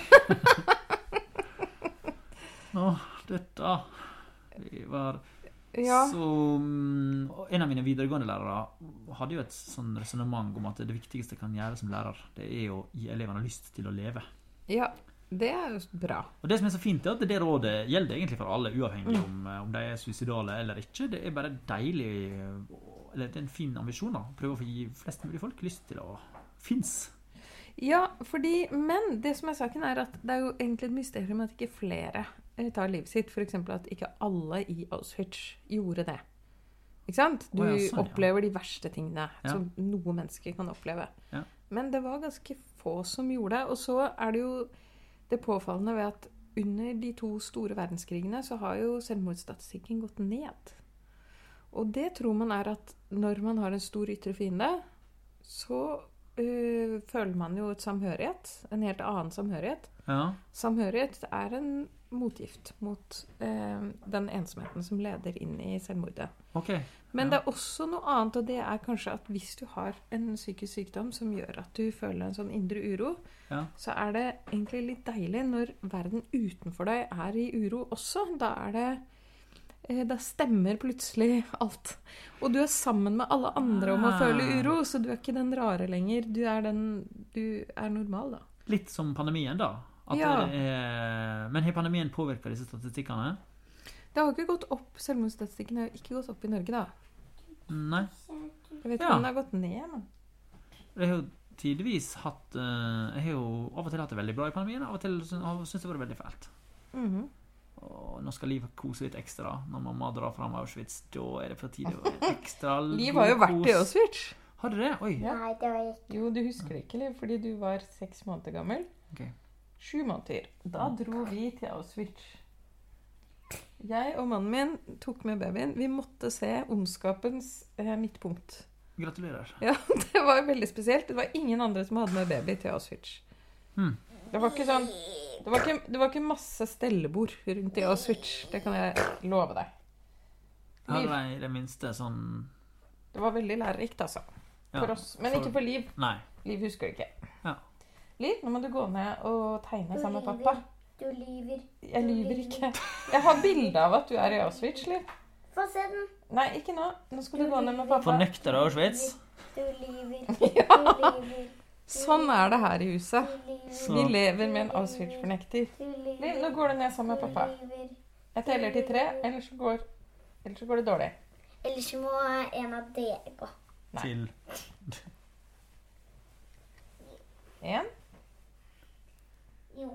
Speaker 3: Nå, dette Vi var
Speaker 2: Ja.
Speaker 3: Så mm, og En av mine videregående lærere hadde jo et sånn resonnement om at det viktigste jeg kan gjøre som lærer, det er å gi elevene lyst til å leve.
Speaker 2: ja. Det er jo bra.
Speaker 3: Og Det som er så fint, er at det rådet gjelder egentlig for alle, uavhengig om, eh, om de er suicidale eller ikke. Det er bare deilig eh, Eller det er en fin ambisjon. da, Prøve å få gi flest mulig folk lyst til å finnes.
Speaker 2: Ja, fordi, men det som er saken er at det er jo egentlig et mysterium at ikke flere eh, tar livet sitt. F.eks. at ikke alle i Auschwitz gjorde det. Ikke sant? Du
Speaker 3: Å ja, sånn, ja.
Speaker 2: opplever de verste tingene
Speaker 3: Ja.
Speaker 2: som noe menneske kan oppleve.
Speaker 3: Ja.
Speaker 2: Men det var ganske få som gjorde det. Og så er det jo det påfallende ved at under de to store verdenskrigene så har jo selvmordsstatistikken gått ned. Og det tror man er at når man har en stor ytre fiende, så øh, føler man jo et samhørighet. En helt annen samhørighet.
Speaker 3: Ja.
Speaker 2: Samhørighet er en motgift mot øh, den ensomheten som leder inn i selvmordet.
Speaker 3: Ok.
Speaker 2: Men
Speaker 3: Ja.
Speaker 2: det er også noe annet, og det er kanskje at hvis du har en psykisk sykdom som gjør at du føler en sånn indre uro,
Speaker 3: Ja.
Speaker 2: så er det egentlig litt deilig når verden utenfor deg er i uro også. Da er det eh, da stemmer plutselig alt. Og du er sammen med alle andre om å
Speaker 3: Ah.
Speaker 2: føle uro, så du er ikke den rare lenger. Du er den Du er normal, da.
Speaker 3: Litt som pandemien, da. At
Speaker 2: Ja.
Speaker 3: det er, men har pandemien påvirka disse statistikkene?
Speaker 2: Det har jo ikke gått opp, Selvmordsstatistikken har jo ikke gått opp i Norge, da.
Speaker 3: Nei.
Speaker 2: Jeg vet ikke
Speaker 3: Ja.
Speaker 2: om den har gått ned. Men.
Speaker 3: Jeg har jo tidvis hatt eh, Jeg har jo av og til hatt det veldig bra i pandemien, av og til syns det har vært veldig fælt.
Speaker 2: Mhm.
Speaker 3: Og nå skal Liv kose litt ekstra. Når mamma drar fram Auschwitz, da er det for tidlig å være ekstra
Speaker 2: Liv har jo vært i
Speaker 3: kos.
Speaker 2: Auschwitz.
Speaker 3: Har du det? Oi.
Speaker 2: Ja.
Speaker 4: Nei, det var ikke
Speaker 2: Jo, du husker det ikke, Liv, fordi du var seks måneder gammel.
Speaker 3: Ok.
Speaker 2: Sju måneder. Da dro vi til Auschwitz. Jeg og mannen min tok med babyen. Vi måtte se ondskapens eh, midtpunkt.
Speaker 3: Gratulerer.
Speaker 2: Ja, Det var jo veldig spesielt. Det var ingen andre som hadde med baby til Auschwitz.
Speaker 3: Hmm.
Speaker 2: Det var ikke sånn det var ikke, det var ikke masse stellebord rundt i Auschwitz. Det kan jeg love deg.
Speaker 3: Har
Speaker 2: Liv.
Speaker 3: de i det minste sånn
Speaker 2: Det var veldig lærerikt, altså.
Speaker 3: ja,
Speaker 2: For oss. Men ikke for Liv.
Speaker 3: Nei.
Speaker 2: Liv husker det ikke.
Speaker 3: Ja.
Speaker 2: Liv, nå må du gå ned og tegne sammen med
Speaker 4: Du lyver.
Speaker 2: pappa.
Speaker 4: Du lyver.
Speaker 2: Jeg lyver ikke. Jeg har bilde av at du er i Auschwitz, Liv.
Speaker 4: Få se den.
Speaker 2: Nei, ikke nå. Nå skal du gå ned med pappa.
Speaker 3: Fornekter Auschwitz?
Speaker 4: Du lyver.
Speaker 2: Ja.
Speaker 4: Du lyver.
Speaker 2: Sånn er det her i
Speaker 4: Du
Speaker 2: huset.
Speaker 4: lyver.
Speaker 3: Så
Speaker 2: Vi lever med en Auschwitz-fornekter.
Speaker 4: Du
Speaker 2: Liv, nå
Speaker 4: lyver.
Speaker 2: går du ned sammen med
Speaker 4: Du
Speaker 2: pappa.
Speaker 4: lyver.
Speaker 2: Jeg teller til tre, ellers så går, ellers så går det dårlig.
Speaker 4: Ellers må en av dere gå.
Speaker 2: Nei.
Speaker 3: til
Speaker 2: Én.
Speaker 4: Jo.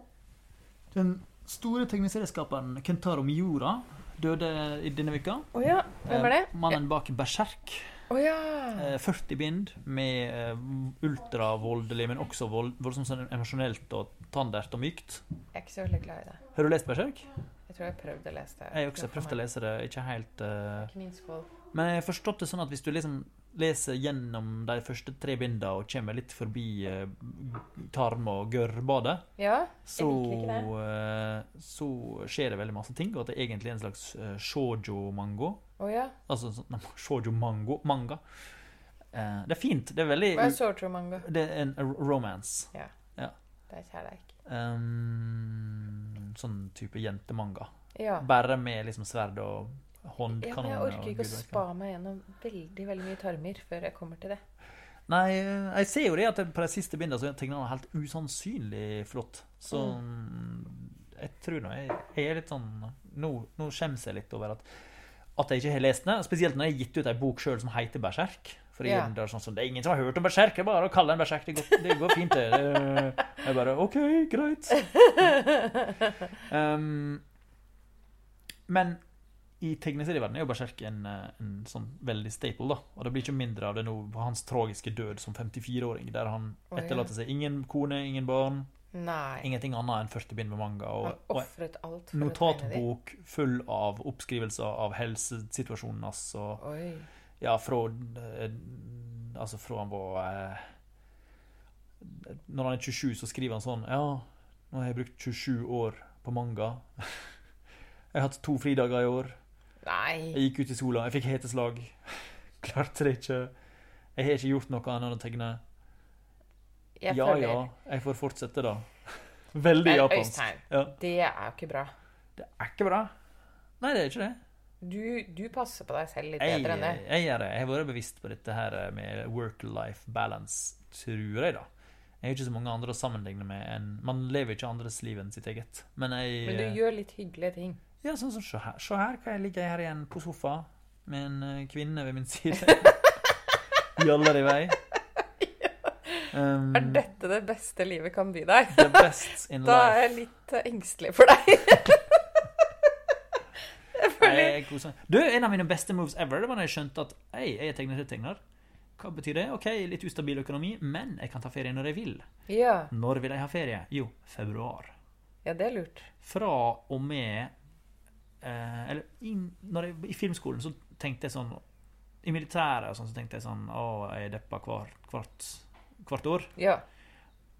Speaker 3: Den store tegneserieskaperen Kentaro Miura døde i denne veka.
Speaker 2: Å ja. Hvem er det?
Speaker 3: Eh, Mannen bak Berserk.
Speaker 2: Å ja.
Speaker 3: Eh, 40 bind med eh, ultravoldelig, men også vold, voldsomt sånn emosjonelt og tandert og mykt.
Speaker 2: Jeg er ikke så veldig glad i det.
Speaker 3: Har du lest Berserk?
Speaker 2: Jeg tror jeg har prøvd å lese det.
Speaker 3: Jeg har også prøvd å lese det. Ikke helt eh,
Speaker 2: Ikke min skål.
Speaker 3: Men jeg har forstått det sånn at hvis du liksom leser gjennom de første tre bindene og kommer litt forbi eh, tarm- og gørrbadet,
Speaker 2: Ja.
Speaker 3: så,
Speaker 2: liker ikke det.
Speaker 3: eh, så skjer det veldig masse ting, og at det er egentlig er en slags eh, shoujo-mango.
Speaker 2: Å ja.
Speaker 3: Altså sånn nei, shoujo-mango. Manga. Eh, det er fint. Det er veldig
Speaker 2: Hva er sortromango?
Speaker 3: Det er en romance.
Speaker 2: Det er kjærleik.
Speaker 3: Um, sånn type jentemanga.
Speaker 2: Ja.
Speaker 3: Bare med liksom sverd og
Speaker 2: ja. Men
Speaker 3: håndkanoner.
Speaker 2: jeg orker
Speaker 3: og
Speaker 2: ikke å
Speaker 3: gudverk.
Speaker 2: spa meg gjennom veldig, veldig mye tarmer før jeg kommer til det.
Speaker 3: Nei, eh, jeg ser jo det at på de siste bindene så er tegnene helt usannsynlig flott. Så mm, jeg tror nå jeg, jeg er litt sånn Nå, nå skjemmes jeg litt over at, at jeg ikke har lest den. Spesielt når jeg har gitt ut ei bok sjøl som heter Berserk. For
Speaker 2: Ja.
Speaker 3: jeg, det, er sånn, som, det er ingen som har hørt om berserk. Det er bare å kalle den berserk. Det går, det går fint, det. det. Jeg bare OK, greit. Um, men i tegneserieverdenen er jo Berserk en, eh, en sånn veldig staple, da. Og det blir ikke mindre av det nå på hans tragiske død som 54-åring, der han
Speaker 2: Å, ja.
Speaker 3: etterlater seg ingen kone, ingen barn,
Speaker 2: Nei.
Speaker 3: ingenting annet enn 40 bind med manga.
Speaker 2: Han
Speaker 3: Og, og
Speaker 2: ofret alt
Speaker 3: en
Speaker 2: for å tegne de.
Speaker 3: notatbok full av oppskrivelser av helsesituasjonen hans og
Speaker 2: Oi.
Speaker 3: Ja, fra eh, Altså fra han var eh, Når han er 27, så skriver han sånn Ja, nå har jeg brukt 27 år på manga. Jeg har hatt to fridager i år.
Speaker 2: Nei.
Speaker 3: Jeg gikk ut i sola, jeg fikk heteslag. Klarte det ikke. Jeg har ikke gjort noe annet enn å tegne.
Speaker 2: Jeg
Speaker 3: ja
Speaker 2: føler
Speaker 3: ja, jeg får fortsette, da. Veldig
Speaker 2: Men
Speaker 3: japansk.
Speaker 2: Øystein,
Speaker 3: Ja.
Speaker 2: det er jo ikke bra.
Speaker 3: Det er ikke bra. Nei, det er ikke det.
Speaker 2: Du, du passer på deg selv litt
Speaker 3: Jeg,
Speaker 2: bedre enn det.
Speaker 3: jeg gjør det. Jeg har vært bevisst på dette her med work-life balance, tror jeg, da. Jeg har ikke så mange andre å sammenligne med enn Man lever ikke andres liv enn sitt eget. Men jeg
Speaker 2: Men du gjør litt hyggelige ting.
Speaker 3: Ja, sånn som se her. Se her, hva jeg ligger her igjen på sofa med en eh, kvinne ved min side. Jaller i vei. Um,
Speaker 2: Er dette det beste livet kan by deg?
Speaker 3: the best in
Speaker 2: Da er
Speaker 3: life.
Speaker 2: jeg litt eh, engstelig for deg. jeg
Speaker 3: Nei,
Speaker 2: føler
Speaker 3: jeg koser meg. Du, en av mine beste moves ever Det var da jeg skjønte at Hei, jeg er tegner-tegner. Hva betyr det? Ok, litt ustabil økonomi, men jeg kan ta ferie når jeg vil.
Speaker 2: ja,
Speaker 3: Når vil jeg ha ferie? Jo, februar.
Speaker 2: ja, det er lurt.
Speaker 3: Fra og med eh, Eller inn- når jeg, i filmskolen så tenkte jeg sånn I militæret og sånn, så tenkte jeg sånn Å, jeg er deppa hver, hvert, hvert år.
Speaker 2: Ja,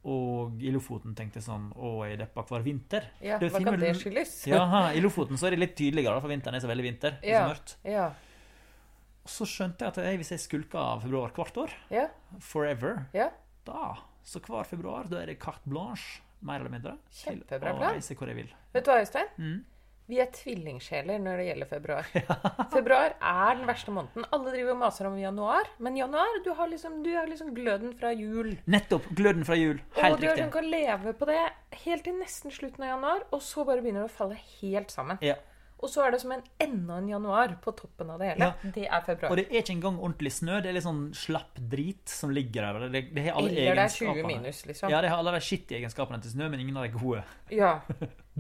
Speaker 3: Og i Lofoten tenkte jeg sånn Å, jeg er deppa hver vinter.
Speaker 2: ja
Speaker 3: Det er
Speaker 2: hva
Speaker 3: fin
Speaker 2: kan
Speaker 3: med
Speaker 2: det
Speaker 3: lur-
Speaker 2: skyldes?
Speaker 3: Jaha, I Lofoten så er det litt tydeligere, da, for vinteren er så veldig vinter. Det er
Speaker 2: Ja.
Speaker 3: så mørkt.
Speaker 2: Ja,
Speaker 3: Og så skjønte jeg at jeg, hvis jeg skulka av februar hvert år,
Speaker 2: ja,
Speaker 3: forever,
Speaker 2: ja.
Speaker 3: da Så hver februar da er det carte blanche, mer eller mindre, til
Speaker 2: Kjempebra
Speaker 3: å
Speaker 2: plan.
Speaker 3: reise hvor jeg vil.
Speaker 2: Vet du hva, Øystein?
Speaker 3: Mm.
Speaker 2: Vi er tvillingsjeler når det gjelder februar. Februar er den verste måneden. Alle driver og maser om januar, men januar, du har liksom, du har liksom gløden fra jul.
Speaker 3: Nettopp! Gløden fra jul.
Speaker 2: Og
Speaker 3: Helt
Speaker 2: du har-
Speaker 3: riktig.
Speaker 2: du kan leve på det helt til nesten slutten av januar, og så bare begynner det å falle helt sammen.
Speaker 3: Ja.
Speaker 2: Og så er det som en enda en januar på toppen av det hele.
Speaker 3: Ja.
Speaker 2: Det er februar.
Speaker 3: Og det er ikke engang ordentlig snø, det er litt sånn slapp drit som ligger der. Det, det har alle
Speaker 2: Eller det er 20
Speaker 3: egenskapene.
Speaker 2: minus, liksom.
Speaker 3: Ja, det har alle de skittige egenskapene til snø, men ingen av de gode.
Speaker 2: Ja.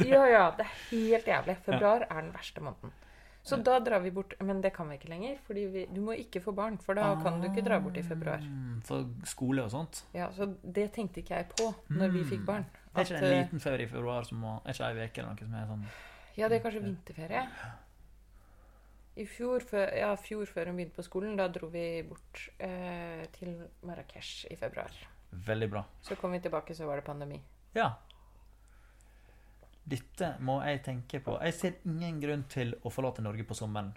Speaker 2: ja, ja. Det er helt jævlig. Februar er den verste måneden. Så da drar vi bort Men det kan vi ikke lenger. For du må ikke få barn, for
Speaker 3: Ah.
Speaker 2: da kan du ikke dra bort i februar.
Speaker 3: Mm, For skole og sånt.
Speaker 2: Ja, Så det tenkte ikke jeg på når vi fikk barn.
Speaker 3: Mm. Det er ikke
Speaker 2: At,
Speaker 3: det en
Speaker 2: eh,
Speaker 3: liten ferie i februar som må Er ikke ei uke eller noe som er sånn
Speaker 2: ja, det er kanskje vinterferie. I fjor, før, ja, fjor før hun begynte på skolen, da dro vi bort eh, til Marrakech i februar.
Speaker 3: Veldig bra.
Speaker 2: Så kom vi tilbake, så var det pandemi.
Speaker 3: Ja. Dette må jeg tenke på. Jeg ser ingen grunn til å forlate Norge på sommeren.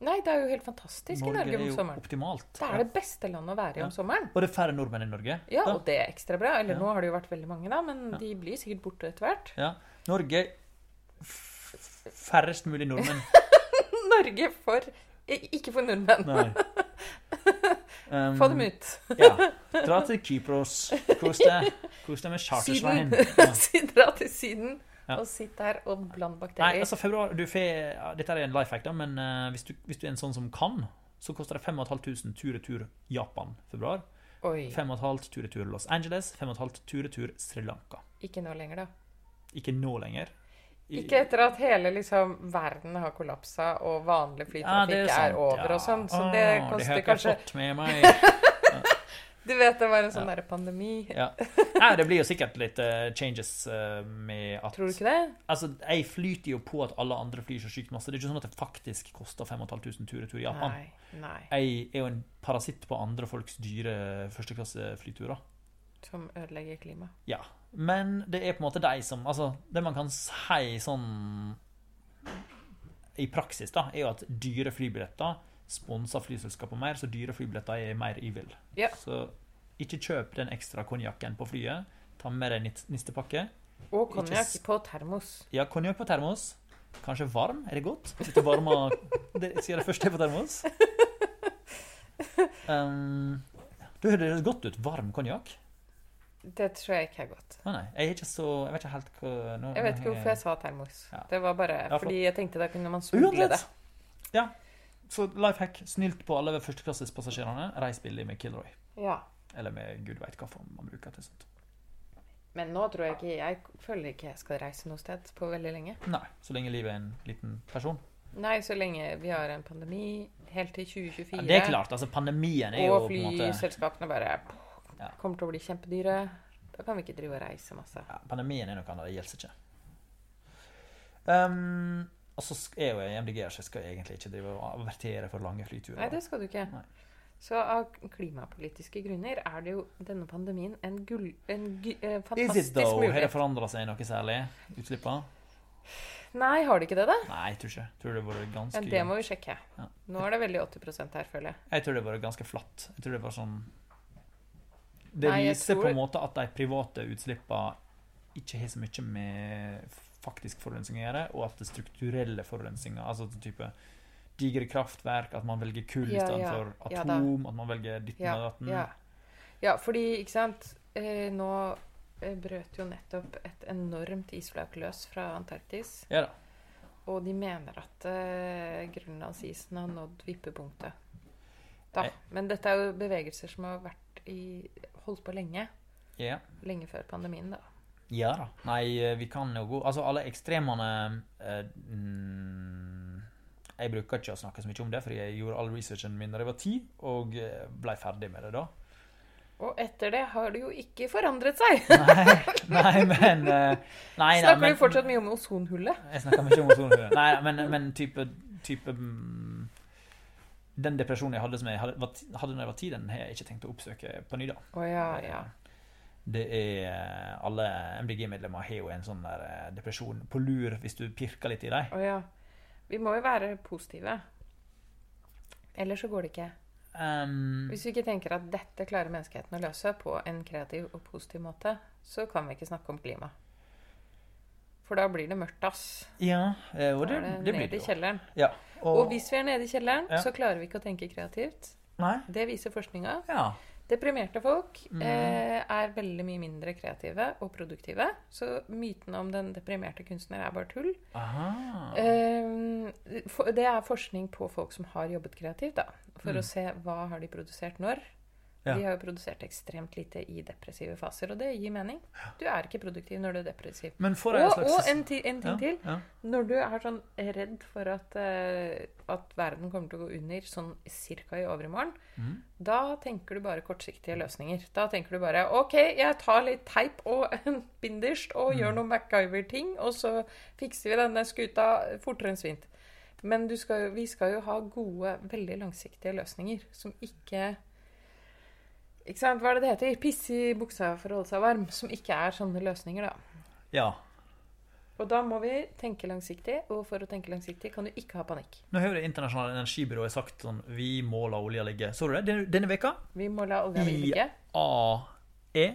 Speaker 2: Nei, det er jo helt fantastisk i Norge om sommeren.
Speaker 3: optimalt.
Speaker 2: Det er det beste landet å være i
Speaker 3: Ja.
Speaker 2: om sommeren.
Speaker 3: Og det er færre nordmenn i Norge.
Speaker 2: Ja,
Speaker 3: da.
Speaker 2: og det er ekstra bra. Eller
Speaker 3: Ja.
Speaker 2: nå har det jo vært veldig mange, da, men de blir sikkert borte etter hvert.
Speaker 3: Ja. Norge f- f- Færrest mulig nordmenn.
Speaker 2: Norge for i- Ikke for nordmenn.
Speaker 3: Nei. Um,
Speaker 2: Få dem ut.
Speaker 3: ja. Dra til Kypros. Kos deg. Kos deg med
Speaker 2: Syden.
Speaker 3: chartersveien. Ja.
Speaker 2: Si- Dra til Syden
Speaker 3: Ja.
Speaker 2: og sitt der og bland
Speaker 3: Nei,
Speaker 2: bakterier.
Speaker 3: altså februar du får, ja, Dette er en life hack, da, men eh, hvis, du, hvis du er en sånn som kan, så koster det 5500 tur-retur Japan februar.
Speaker 2: Oi.
Speaker 3: 5,5 tur-retur Los Angeles, 5,5 tur-retur Sri Lanka.
Speaker 2: Ikke nå lenger, da.
Speaker 3: Ikke nå lenger. I-
Speaker 2: Ikke etter at hele liksom, verden har kollapsa og vanlig
Speaker 3: Ja, det
Speaker 2: flytrafikk er,
Speaker 3: sant,
Speaker 2: over
Speaker 3: ja.
Speaker 2: og sånn. Så
Speaker 3: Åh,
Speaker 2: det
Speaker 3: det har
Speaker 2: koster
Speaker 3: ikke jeg
Speaker 2: kanskje
Speaker 3: fått med meg.
Speaker 2: Du vet det var en sånn derre pandemi.
Speaker 3: Ja. Nei, det blir jo sikkert litt eh, changes eh, med at
Speaker 2: Tror du ikke det?
Speaker 3: Altså, jeg flyter jo på at alle andre flyr så sykt masse. Det er ikke sånn at det faktisk koster 5500 tur-retur i Japan.
Speaker 2: Nei. Nei.
Speaker 3: Jeg er jo en parasitt på andre folks dyre førsteklasseflyturer.
Speaker 2: Som ødelegger klimaet.
Speaker 3: Ja. Men det er på en måte de som Altså, det man kan si sånn i praksis, da, er jo at dyre flybilletter sponser flyselskapene mer, så dyre flybilletter er mer evil.
Speaker 2: Ja.
Speaker 3: Så ikke kjøp den ekstra konjakken på flyet. Ta med deg nit- nistepakke.
Speaker 2: Og
Speaker 3: Ikke
Speaker 2: konjakk
Speaker 3: s-
Speaker 2: på termos.
Speaker 3: Ja, konjakk på termos. Kanskje varm? Er det godt? Litt varma det, Sier det første på termos. Um, du høres godt ut. Varm konjakk?
Speaker 2: Det tror jeg ikke er godt.
Speaker 3: Nei, nei. Jeg er ikke så Jeg vet ikke helt hva nå-
Speaker 2: Jeg vet ikke hvorfor jeg sa termos.
Speaker 3: Ja.
Speaker 2: Det var bare
Speaker 3: Ja,
Speaker 2: fordi jeg tenkte da kunne man smugle det.
Speaker 3: Uansett. Ja. Så life hack. Snilt på alle førsteklassespassasjerene. Reis billig med Kilroy.
Speaker 2: Ja.
Speaker 3: Eller med gud veit hva form man bruker til sånt.
Speaker 2: Men nå tror jeg ikke Jeg føler ikke jeg skal reise noe sted på veldig lenge.
Speaker 3: Nei. Så lenge livet er en liten person.
Speaker 2: Nei, så lenge vi har en pandemi helt til 2024.
Speaker 3: Ja, det er klart. Altså, pandemien er jo
Speaker 2: Og
Speaker 3: på en måte
Speaker 2: flyselskapene bare
Speaker 3: Ja.
Speaker 2: kommer til å bli kjempedyre. Da kan vi ikke drive og reise masse.
Speaker 3: ja, Pandemien er noe annet. Det gjelder ikke. Um, og så sk- er jo E jeg MDG-er, så jeg skal egentlig ikke drive og avertere for lange flyturer.
Speaker 2: Nei, det skal du ikke.
Speaker 3: Nei.
Speaker 2: Så av klimapolitiske grunner er det jo denne pandemien en, gull, en gu- eh,
Speaker 3: Is it
Speaker 2: fantastisk
Speaker 3: though? Har det
Speaker 2: mulighet.
Speaker 3: forandra seg noe særlig? Utslippa?
Speaker 2: Nei, har det ikke det, da?
Speaker 3: Nei, jeg tror ikke. Jeg tror det har vært
Speaker 2: Ja,
Speaker 3: ganske
Speaker 2: det må vi sjekke.
Speaker 3: Ja.
Speaker 2: Nå er det veldig 80 her, føler jeg.
Speaker 3: Jeg tror det var ganske flatt. Jeg tror det var sånn Det
Speaker 2: Nei, jeg
Speaker 3: viser
Speaker 2: tror-
Speaker 3: på en måte at de private utslippene ikke har så mye med faktisk forurensning å gjøre, og at det strukturelle forurensninga, altså den type digre kraftverk, at man velger kull
Speaker 2: Ja, ja.
Speaker 3: istedenfor
Speaker 2: Ja da.
Speaker 3: atom, at man velger ditten og
Speaker 2: Ja,
Speaker 3: datten.
Speaker 2: ja. ja, fordi, ikke sant eh, Nå eh, brøt jo nettopp et enormt isflak løs fra Antarktis.
Speaker 3: Ja da.
Speaker 2: Og de mener at eh, grønlandsisen har nådd vippepunktet. Da.
Speaker 3: Eh.
Speaker 2: Men dette er jo bevegelser som har vært i, holdt på lenge.
Speaker 3: Ja.
Speaker 2: Lenge før pandemien, da.
Speaker 3: ja da. Nei, eh, vi kan jo gå Altså, alle ekstremene eh, mm, Jeg bruker ikke å snakke så mye om det, for jeg gjorde all researchen min da jeg var ti, og eh, ble ferdig med det da.
Speaker 2: Og etter det har det jo ikke forandret seg!
Speaker 3: Nei, nei men eh, nei, nei,
Speaker 2: Snakker
Speaker 3: men,
Speaker 2: vi fortsatt mye om ozonhullet?
Speaker 3: Jeg snakker mye om ozonhue. Nei, men, men type, type mm, Den depresjonen jeg hadde som jeg hadde, var ti- hadde når jeg var ti, den har jeg ikke tenkt å oppsøke på ny, da.
Speaker 2: Å ja, Ah, ja.
Speaker 3: Det er eh, Alle MDG-medlemmer har jo en sånn der eh, depresjon på lur hvis du pirker litt i dem.
Speaker 2: Å ja. Vi må jo være positive. Ellers så går det ikke.
Speaker 3: Um,
Speaker 2: Hvis vi ikke tenker at dette klarer menneskeheten å løse på en kreativ og positiv måte, så kan vi ikke snakke om klima. For da blir det mørkt, ass.
Speaker 3: ja, eh, og
Speaker 2: Da
Speaker 3: det,
Speaker 2: er det
Speaker 3: det blir
Speaker 2: nede
Speaker 3: det
Speaker 2: i
Speaker 3: jo.
Speaker 2: kjelleren.
Speaker 3: Ja,
Speaker 2: Og hvis vi er nede i kjelleren,
Speaker 3: Ja.
Speaker 2: så klarer vi ikke å tenke kreativt.
Speaker 3: Nei?
Speaker 2: Det viser forskninga.
Speaker 3: Ja.
Speaker 2: Deprimerte folk
Speaker 3: Mhm.
Speaker 2: eh, er veldig mye mindre kreative og produktive. Så myten om den deprimerte kunstner er bare tull.
Speaker 3: Aha.
Speaker 2: Eh, for- det er forskning på folk som har jobbet kreativt, da. For å se hva har de produsert når.
Speaker 3: Mm. Ja.
Speaker 2: De har jo produsert ekstremt lite i depressive faser, og det gir mening. Du er ikke produktiv når du er depressiv.
Speaker 3: Men får jeg
Speaker 2: Og,
Speaker 3: en slags
Speaker 2: og en, ti, en ting
Speaker 3: Ja,
Speaker 2: til.
Speaker 3: Ja.
Speaker 2: Når du er sånn redd for at, eh, at verden kommer til å gå under sånn cirka i overmorgen, da tenker du bare kortsiktige løsninger. Da tenker du bare OK, jeg tar litt teip og en binderst og gjør noen MacGyver-ting, og så fikser vi denne skuta fortere enn svint. Men du skal, jo- vi skal jo ha gode, veldig langsiktige løsninger som ikke ikke sant, Hva er det det heter? Pisse i buksa for å holde seg varm. Som ikke er sånne løsninger, da.
Speaker 3: ja.
Speaker 2: Og da må vi tenke langsiktig, og for å tenke langsiktig kan du ikke ha panikk.
Speaker 3: Nå har jo Det internasjonale energibyrået sagt sånn Vi må la olja ligge. Så du det? Den- Denne veka
Speaker 2: Vi må la olja hvile.
Speaker 3: IAE,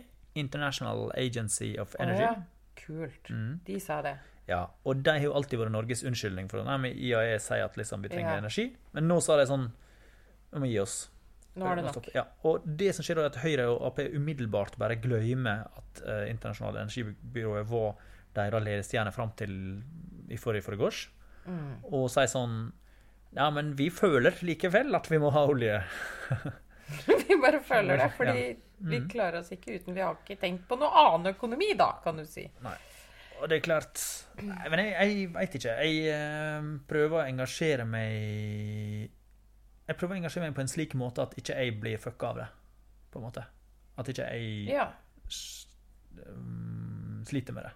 Speaker 3: International Agency of
Speaker 2: Å
Speaker 3: Energy.
Speaker 2: ja, Kult.
Speaker 3: Mm.
Speaker 2: De sa det.
Speaker 3: Ja, og de har jo alltid vært Norges unnskyldning for det. Nei, men IAE sier at liksom, vi trenger
Speaker 2: Ja.
Speaker 3: energi, men nå sa de sånn Vi må gi oss.
Speaker 2: Nå er det
Speaker 3: Vi må
Speaker 2: nok.
Speaker 3: stoppe. Ja, og det som skjer da er at Høyre og Ap umiddelbart bare glemmer at uh, internasjonale energibyrået var deres ledestjerne fram til i forrige forgårs,
Speaker 2: Mm.
Speaker 3: og sier sånn Ja, men vi føler likevel at vi må ha olje.
Speaker 2: vi bare føler det, fordi vi
Speaker 3: Mm.
Speaker 2: klarer oss ikke uten. Vi har ikke tenkt på noe annen økonomi da, kan du si.
Speaker 3: Og det er klart Nei, Men jeg, jeg veit ikke. Jeg eh, prøver å engasjere meg Jeg prøver å engasjere meg på en slik måte at ikke jeg blir fucka av det. På en måte. At ikke jeg
Speaker 2: Ja.
Speaker 3: s- mm, sliter med det.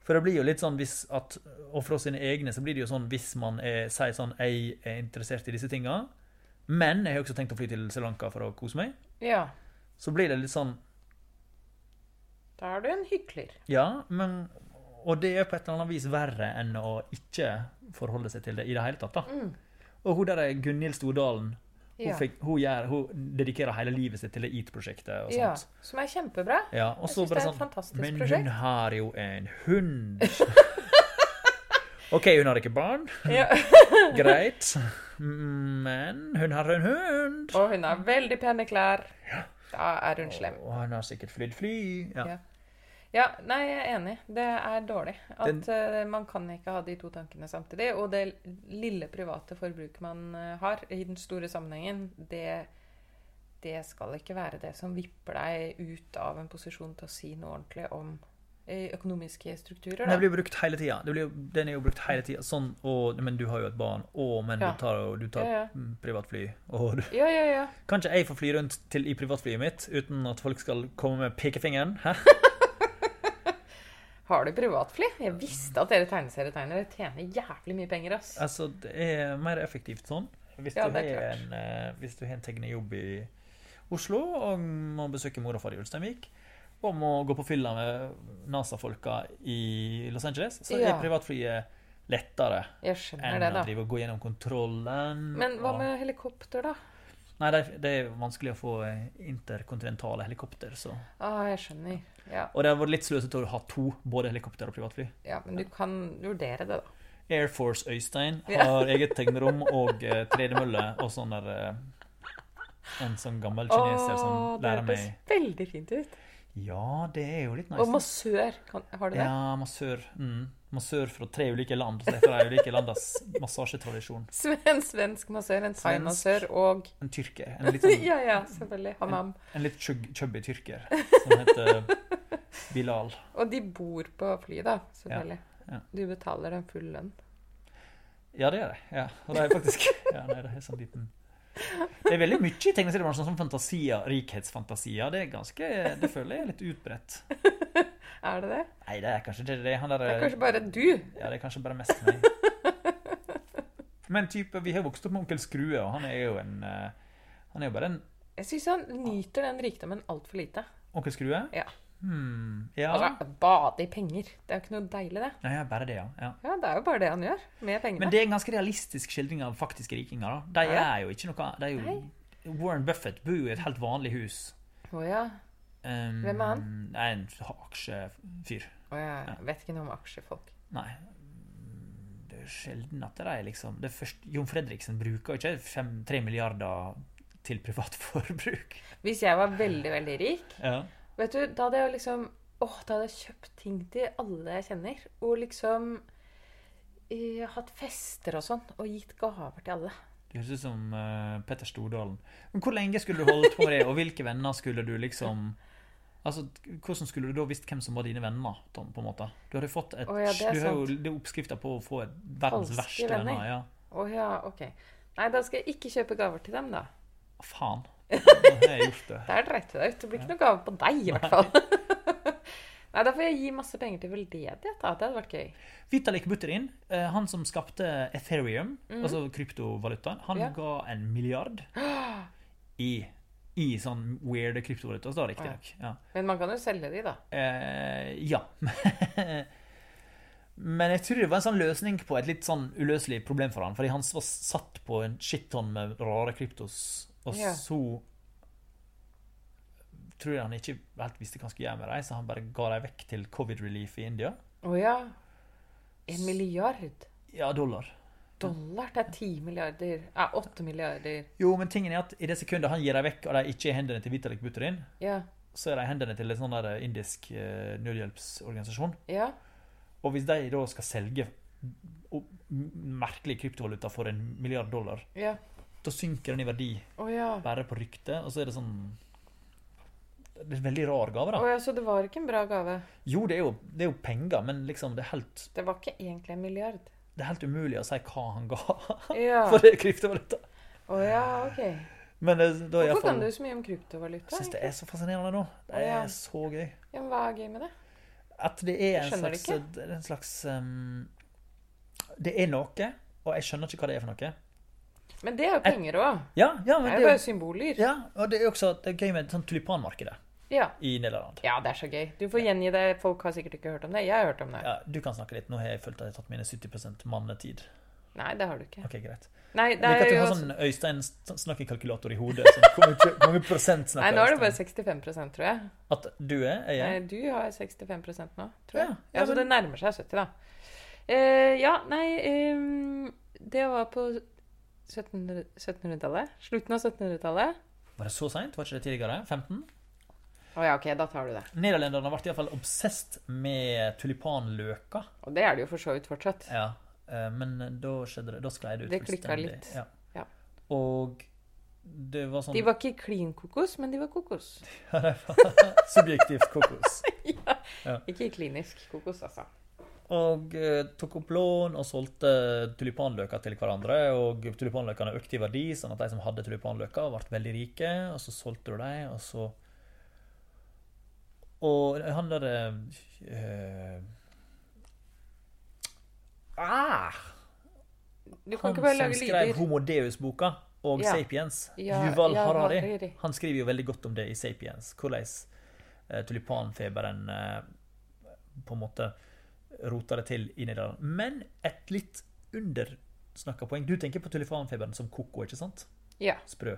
Speaker 3: For det blir jo litt sånn hvis at Og fra sine egne så blir det jo sånn hvis man er, sier sånn Jeg er interessert i disse tinga, men jeg har også tenkt å fly til Sri Lanka for å kose meg.
Speaker 2: ja.
Speaker 3: Så blir det litt sånn
Speaker 2: Da er du en hykler.
Speaker 3: Ja, men Og det er på et eller annet vis verre enn å ikke forholde seg til det i det hele tatt, da. Og hun der er Gunhild Stordalen, hun,
Speaker 2: Mm. Ja.
Speaker 3: fikk, hun, gjør, hun dedikerer hele livet sitt til det EAT-prosjektet og
Speaker 2: Ja,
Speaker 3: sånt.
Speaker 2: som er kjempebra.
Speaker 3: Ja. og
Speaker 2: Jeg
Speaker 3: så
Speaker 2: synes
Speaker 3: bare
Speaker 2: det er et
Speaker 3: sånn
Speaker 2: fantastisk
Speaker 3: Men
Speaker 2: prosjekt."
Speaker 3: hun har jo en hund. OK, hun har ikke barn,
Speaker 2: Ja.
Speaker 3: greit, Mm, men hun har en hund.
Speaker 2: Og hun har veldig pene klær. Da er hun slem.
Speaker 3: Og hun har sikkert flydd fly. Ja.
Speaker 2: Ja. Ja, nei, jeg er enig. Det er dårlig. At
Speaker 3: Den-
Speaker 2: eh, man kan ikke ha de to tankene samtidig. Og det lille private forbruket man eh, har i den store sammenhengen, det, det skal ikke være det som vipper deg ut av en posisjon til å si noe ordentlig om eh, økonomiske strukturer.
Speaker 3: Men det
Speaker 2: Da.
Speaker 3: blir jo brukt hele tida. Det blir jo- Den er jo brukt hele tida. Sånn, og, men du har jo et barn. Å, men
Speaker 2: Ja.
Speaker 3: du tar, jo- du tar
Speaker 2: Ja, ja.
Speaker 3: mm, privatfly. Og du,
Speaker 2: Ja, ja, ja.
Speaker 3: kan ikke jeg få fly rundt til, i privatflyet mitt uten at folk skal komme med pekefingeren? Hæ?
Speaker 2: Har du privatfly? Jeg visste at dere tegneserietegnere tjener jævlig mye penger, ass.
Speaker 3: Altså, det er mer effektivt sånn. Hvis,
Speaker 2: Ja,
Speaker 3: du,
Speaker 2: det er
Speaker 3: har
Speaker 2: klart.
Speaker 3: en, eh, hvis du har en tegnejobb i Oslo og må besøke mor og far i Ulsteinvik, og må gå på fylla med NASA-folka i Los Angeles, så
Speaker 2: Ja.
Speaker 3: er privatflyet lettere
Speaker 2: Jeg
Speaker 3: enn
Speaker 2: skjønner det,
Speaker 3: å
Speaker 2: da.
Speaker 3: drive og gå gjennom kontrollen.
Speaker 2: Men hva
Speaker 3: og-
Speaker 2: med helikopter, da?
Speaker 3: Nei, det, det er vanskelig å få eh, interkontinentale helikopter. Så.
Speaker 2: Ah, jeg skjønner. Ja,
Speaker 3: Og det har vært litt sløsete å ha to, både helikopter og privatfly.
Speaker 2: ja men du kan vurdere det, da.
Speaker 3: Air Force Øystein
Speaker 2: Ja.
Speaker 3: har eget tegnerom og eh, tredemølle og sånn der eh, En sånn gammel kineser
Speaker 2: Åh,
Speaker 3: som lærer
Speaker 2: Det
Speaker 3: meg
Speaker 2: hørtes veldig fint ut.
Speaker 3: Ja, det er jo litt nice.
Speaker 2: Og
Speaker 3: da.
Speaker 2: massør, kan, har du det?
Speaker 3: Ja, massør. Mm. Massør fra tre ulike land. Så etter de ulike landas massasjetradisjon.
Speaker 2: Sve- En svensk massør, en thaimassør og
Speaker 3: En tyrker. En litt, sånn,
Speaker 2: Ja, ja, selvfølgelig. Hammam.
Speaker 3: en litt chug- chubby tyrker som heter Bilal.
Speaker 2: Og de bor på flyet, da. Selvfølgelig.
Speaker 3: ja.
Speaker 2: Du betaler dem full lønn.
Speaker 3: Ja, det gjør jeg. Ja, og det er faktisk ja, nei, det er sånn liten Det er veldig mye i tegneseriebransjen som fantasier, rikhetsfantasier. Det er ganske, det føler jeg er litt utbredt.
Speaker 2: Er det det?
Speaker 3: Nei, det er kanskje ikke det. Han der,
Speaker 2: Det er kanskje bare du.
Speaker 3: Ja, det er kanskje bare mest meg. Men type, vi har vokst opp med onkel Skrue, og han er jo en eh, Han er jo bare en
Speaker 2: Jeg syns han nyter den rikdommen altfor lite.
Speaker 3: onkel Skrue.
Speaker 2: Ja.
Speaker 3: Hmm, ja.
Speaker 2: Altså, bade i penger. Det er jo ikke noe deilig, det.
Speaker 3: ja, ja, bare det, ja. ja.
Speaker 2: Ja, det er jo bare det han gjør. Med pengene.
Speaker 3: Men det er en ganske realistisk skildring av faktiske rikinger. da. De
Speaker 2: Ja.
Speaker 3: er jo ikke noe de er jo, Warren Buffett bor jo i et helt vanlig hus.
Speaker 2: Å ja.
Speaker 3: Um,
Speaker 2: Hvem er han?
Speaker 3: Nei, en aksjefyr.
Speaker 2: Å ja. Jeg vet ikke noe om aksjefolk.
Speaker 3: Nei. Det er sjelden at de liksom det er først, Jon Fredriksen bruker jo ikke fem- tre milliarder til privat forbruk.
Speaker 2: Hvis jeg var veldig, veldig rik,
Speaker 3: Ja.
Speaker 2: vet du, da hadde jeg jo liksom Åh, da hadde jeg kjøpt ting til alle jeg kjenner. Og liksom eh, hatt fester og sånn. Og gitt gaver til alle.
Speaker 3: Det høres ut som eh, Petter Stordalen. Men hvor lenge skulle du holdt på med det, og hvilke venner skulle du liksom Altså, Hvordan skulle du da visst hvem som var dine venner? Tom, på en måte? Du hadde fått et,
Speaker 2: Å ja, det er
Speaker 3: du har jo,
Speaker 2: sant.
Speaker 3: det er oppskrifta på å få et verdens
Speaker 2: Falske
Speaker 3: verste
Speaker 2: venner.
Speaker 3: venner. ja.
Speaker 2: Å ja, ok. Nei, da skal jeg ikke kjøpe gaver til dem, da.
Speaker 3: Faen. Da har jeg gjort det.
Speaker 2: Der dreit du deg ut. Det blir ikke noe gave på deg, i hvert fall. Nei, da får jeg gi masse penger til veldedighet, da. Det hadde vært gøy.
Speaker 3: Vitalik Buterin, eh, han som skapte Ethereum, altså kryptovalutaen, han
Speaker 2: Ja.
Speaker 3: ga en milliard i, i sånn weirde kryptovaluta, så da riktignok. Ja.
Speaker 2: Men man kan jo selge de, da.
Speaker 3: Eh, ja. Men jeg tror det var en sånn løsning på et litt sånn uløselig problem for han, fordi han var satt på en shitton med rare kryptos, og
Speaker 2: Ja.
Speaker 3: så tror jeg han ikke helt visste hva han skulle gjøre med dem, så han bare ga dem vekk til covid relief i India.
Speaker 2: Å ja. En milliard
Speaker 3: Ja, dollar.
Speaker 2: dollar? Det er ti milliarder Nei, åtte milliarder.
Speaker 3: Jo, men tingen er at i det sekundet han gir dem vekk, og de ikke er i hendene til Vitalik Buterin,
Speaker 2: Ja.
Speaker 3: så er de i hendene til en sånn der indisk eh, nødhjelpsorganisasjon.
Speaker 2: Ja.
Speaker 3: Og hvis de da skal selge o- m- merkelig kryptovaluta for en milliard dollar,
Speaker 2: Ja.
Speaker 3: da synker den i verdi
Speaker 2: Å ja.
Speaker 3: bare på ryktet, og så er det sånn Det er en veldig rar gave,
Speaker 2: Å
Speaker 3: da.
Speaker 2: ja. Så det var ikke en bra gave.
Speaker 3: Jo, det er jo, det er jo penger, men liksom det er, helt,
Speaker 2: Det var ikke egentlig en milliard.
Speaker 3: det er helt umulig å si hva han ga
Speaker 2: Ja.
Speaker 3: for det er kryptovaluta.
Speaker 2: Å ja, ok.
Speaker 3: Men det, da er
Speaker 2: Hvorfor kan
Speaker 3: iallfall
Speaker 2: du
Speaker 3: Jeg
Speaker 2: så mye om kryptovaluta?
Speaker 3: syns det
Speaker 2: egentlig?
Speaker 3: er så fascinerende nå. Det
Speaker 2: Ja.
Speaker 3: er så gøy.
Speaker 2: Ja, men hva er gøy med det?
Speaker 3: At det er en
Speaker 2: Jeg skjønner det
Speaker 3: slags, det er en slags um, Det er noe, og jeg skjønner ikke hva det er for noe.
Speaker 2: Men det er jo penger òg.
Speaker 3: Ja, ja,
Speaker 2: Det
Speaker 3: men
Speaker 2: er
Speaker 3: det,
Speaker 2: jo
Speaker 3: er
Speaker 2: bare
Speaker 3: jo-
Speaker 2: symboler.
Speaker 3: ja og det er jo også det er gøy med sånn tulipanmarkedet
Speaker 2: Ja.
Speaker 3: i Nederland.
Speaker 2: Ja, det er så gøy. Du får gjengi det. Folk har sikkert ikke hørt om det. Jeg har hørt om det.
Speaker 3: Ja, du kan snakke litt. Nå har jeg følt at jeg har tatt mine 70 mannetid.
Speaker 2: Nei, det har du ikke.
Speaker 3: Ok, greit.
Speaker 2: Nei,
Speaker 3: Jeg
Speaker 2: det
Speaker 3: liker
Speaker 2: er
Speaker 3: at du
Speaker 2: jo
Speaker 3: har sånn Øystein snakkekalkulator i hodet. Sånn, hvor mye- hvor mange prosent snakker
Speaker 2: Nei, nå er det
Speaker 3: Øystein?
Speaker 2: bare 65 tror jeg.
Speaker 3: At du er? Jeg
Speaker 2: Nei,
Speaker 3: er?
Speaker 2: du har 65 nå, tror jeg.
Speaker 3: Ja,
Speaker 2: Ja,
Speaker 3: ja,
Speaker 2: så
Speaker 3: men-
Speaker 2: det nærmer seg 70, da. Eh, ja, nei ehm, Det var på 1700 1700-tallet. Slutten av 1700-tallet.
Speaker 3: Var det så seint? Var ikke det tidligere? 15?
Speaker 2: Å ja, OK, da tar du det.
Speaker 3: Nederlenderne ble iallfall obsesst med tulipanløker.
Speaker 2: Og det er det jo for så vidt fortsatt.
Speaker 3: Ja, eh, men da skjedde det. Da sklei det ut
Speaker 2: Det klikket
Speaker 3: fullstendig.
Speaker 2: litt.
Speaker 3: Ja.
Speaker 2: Ja.
Speaker 3: Og det var sånn
Speaker 2: De var ikke klin kokos, men de var kokos.
Speaker 3: subjektivt kokos.
Speaker 2: Ikke klinisk kokos, altså.
Speaker 3: Og eh, tok opp lån og solgte tulipanløker til hverandre. Og tulipanløkene økte i verdi, sånn at de som hadde tulipanløker, ble veldig rike. Og så solgte du dem, og så Og han der eh, ah,
Speaker 2: Du kan
Speaker 3: Han
Speaker 2: ikke bare
Speaker 3: som
Speaker 2: lage
Speaker 3: skrev
Speaker 2: lyder.
Speaker 3: Homo Deus-boka og
Speaker 2: Ja.
Speaker 3: Sapiens,
Speaker 2: Ja,
Speaker 3: Yuval
Speaker 2: ja,
Speaker 3: Harari,
Speaker 2: Harari.
Speaker 3: han skriver jo veldig godt om det i Sapiens. Hvordan eh, tulipanfeberen eh, på en måte rota det til i Nederland. Men et litt undersnakka poeng. Du tenker på tulipanfeberen som koko, ikke sant?
Speaker 2: Ja.
Speaker 3: Sprø.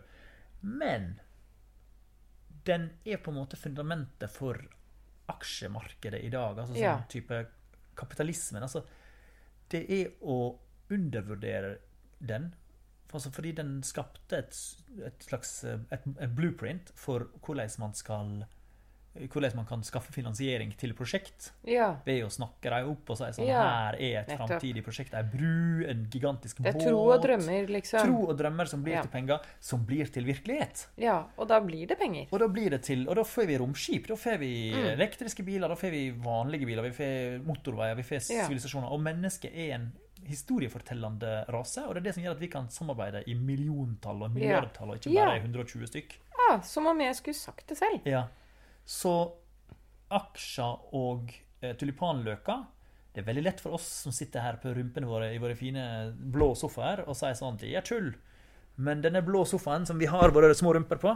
Speaker 3: Men den er på en måte fundamentet for aksjemarkedet i dag. Altså sånn
Speaker 2: Ja.
Speaker 3: type kapitalismen. Altså det er å undervurdere den. Altså fordi den skapte et, s- et slags eh, et, et blueprint for hvordan man skal hvordan man kan skaffe finansiering til prosjekt
Speaker 2: Ja.
Speaker 3: ved å snakke dem opp og si sånn
Speaker 2: Ja,
Speaker 3: her er et
Speaker 2: nettopp.
Speaker 3: framtidig prosjekt, ei bru, en gigantisk
Speaker 2: Det
Speaker 3: båt.
Speaker 2: er tro og drømmer, liksom.
Speaker 3: Tro og drømmer som blir
Speaker 2: Ja.
Speaker 3: til penger, som blir til virkelighet.
Speaker 2: Ja, og da blir det penger.
Speaker 3: Og da blir det til, og da får vi romskip, da får vi
Speaker 2: Mm.
Speaker 3: elektriske biler, da får vi vanlige biler, vi får motorveier, vi får
Speaker 2: Ja.
Speaker 3: sivilisasjoner. Og mennesket er en historiefortellende rase, og det er det som gjør at vi kan samarbeide i milliontall og
Speaker 2: Ja.
Speaker 3: milliardtall, og ikke bare
Speaker 2: Ja.
Speaker 3: i 120 stykk.
Speaker 2: Ja, Som om jeg skulle sagt det selv.
Speaker 3: Ja. Så aksjer og eh, tulipanløker Det er veldig lett for oss som sitter her på rumpene våre i våre fine blå sofaer og sier sånn Det er tull. Men denne blå sofaen som vi har våre små rumper på,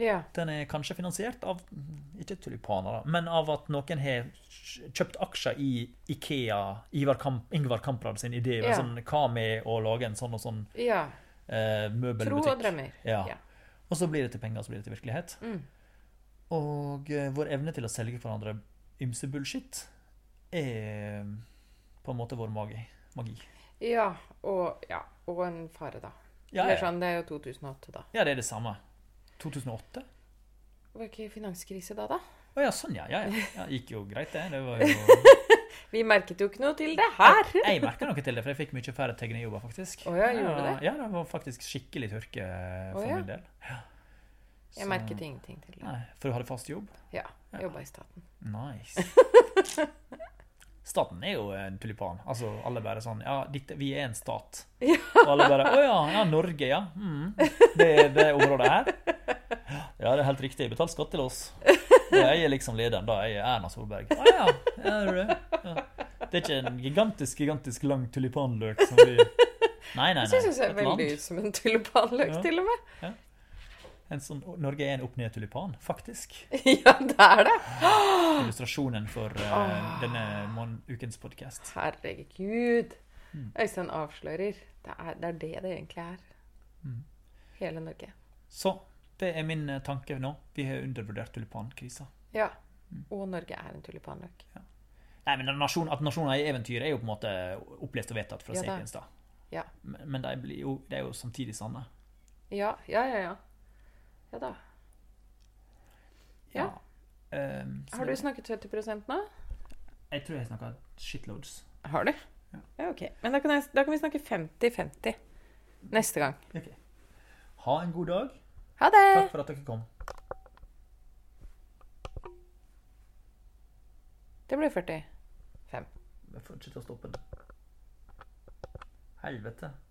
Speaker 2: Ja.
Speaker 3: den er kanskje finansiert av mm, Ikke tulipaner, da, men av at noen har kj- kjøpt aksjer i Ikea, Ivar Kamp, Ingvar Kamprad sin idé.
Speaker 2: Ja.
Speaker 3: Sånn, hva med å lage en sånn og sånn
Speaker 2: ja.
Speaker 3: eh,
Speaker 2: Tro
Speaker 3: møbelbutikk?
Speaker 2: og drømmer.
Speaker 3: Ja.
Speaker 2: Ja.
Speaker 3: Og så blir det til penger, og så blir det til virkelighet.
Speaker 2: Mm.
Speaker 3: Og eh, vår evne til å selge hverandre ymse bullshit er eh, på en måte vår magi. magi.
Speaker 2: Ja, og, ja, og en fare, da.
Speaker 3: Ja,
Speaker 2: Eller
Speaker 3: ja.
Speaker 2: sånn, det er jo 2008, da.
Speaker 3: ja, det er det samme. 2008?
Speaker 2: Var ikke finanskrise da, da?
Speaker 3: Å ja, sånn ja. Ja, ja. ja. Gikk jo greit, det. Det var jo
Speaker 2: Vi merket jo ikke noe til det her!
Speaker 3: Jeg merka noe til det, for jeg fikk mye færre tegnerjobber, faktisk.
Speaker 2: Å ja, gjorde du det?
Speaker 3: Ja, det var faktisk skikkelig tørke eh, for
Speaker 2: Å ja.
Speaker 3: min del. Ja.
Speaker 2: Jeg
Speaker 3: Så-
Speaker 2: merket ingenting til det.
Speaker 3: Nei, For du hadde fast jobb?
Speaker 2: Ja, Jobba i staten.
Speaker 3: Nice. Staten er jo en tulipan. Altså, alle bare sånn Ja, dette, vi er en stat.
Speaker 2: Ja.
Speaker 3: Og alle bare Å ja, ja, Norge, ja. Mm, det er det området her. Ja, det er helt riktig. Betal skatt til oss. Og jeg er liksom lederen, da. Jeg er Erna Solberg. Å ja. ja, er du det? Ja. Det er ikke en gigantisk, gigantisk lang tulipanløk som vi Nei, nei, nei.
Speaker 2: Det syns jeg ser
Speaker 3: Et land.
Speaker 2: veldig ut som en tulipanløk,
Speaker 3: Ja.
Speaker 2: til og med.
Speaker 3: En sånn, Norge er en opp-ned-tulipan, faktisk.
Speaker 2: Ja, det er det!
Speaker 3: Illustrasjonen for
Speaker 2: Ah.
Speaker 3: eh, denne mån- ukens podkast.
Speaker 2: Herregud. Øystein avslører. Det er, det er det det egentlig er. Mm. Hele Norge.
Speaker 3: Så det er min eh, tanke nå. Vi har undervurdert tulipankrisa.
Speaker 2: Ja. Og Norge er en tulipanløk.
Speaker 3: Nei, men nasjon, At nasjoner er eventyr, er jo på en måte opplest og vedtatt fra
Speaker 2: Ja da.
Speaker 3: Sapiens. da.
Speaker 2: Ja.
Speaker 3: Men men de, blir jo, de er jo samtidig sanne.
Speaker 2: Ja, ja, ja. Ja, ja da. Ja.
Speaker 3: Ehm, så
Speaker 2: Har du snakket 70 nå?
Speaker 3: Jeg tror jeg snakka shitloads.
Speaker 2: Har du?
Speaker 3: Ja.
Speaker 2: Ja, ok. Mm. Men da kan, jeg, da kan vi snakke 50-50 neste gang.
Speaker 3: Ok. Ha en god dag.
Speaker 2: Ha det!
Speaker 3: Takk for at dere kom.
Speaker 2: Det ble 40.
Speaker 3: Jeg får ikke til å stoppe den. Helvete.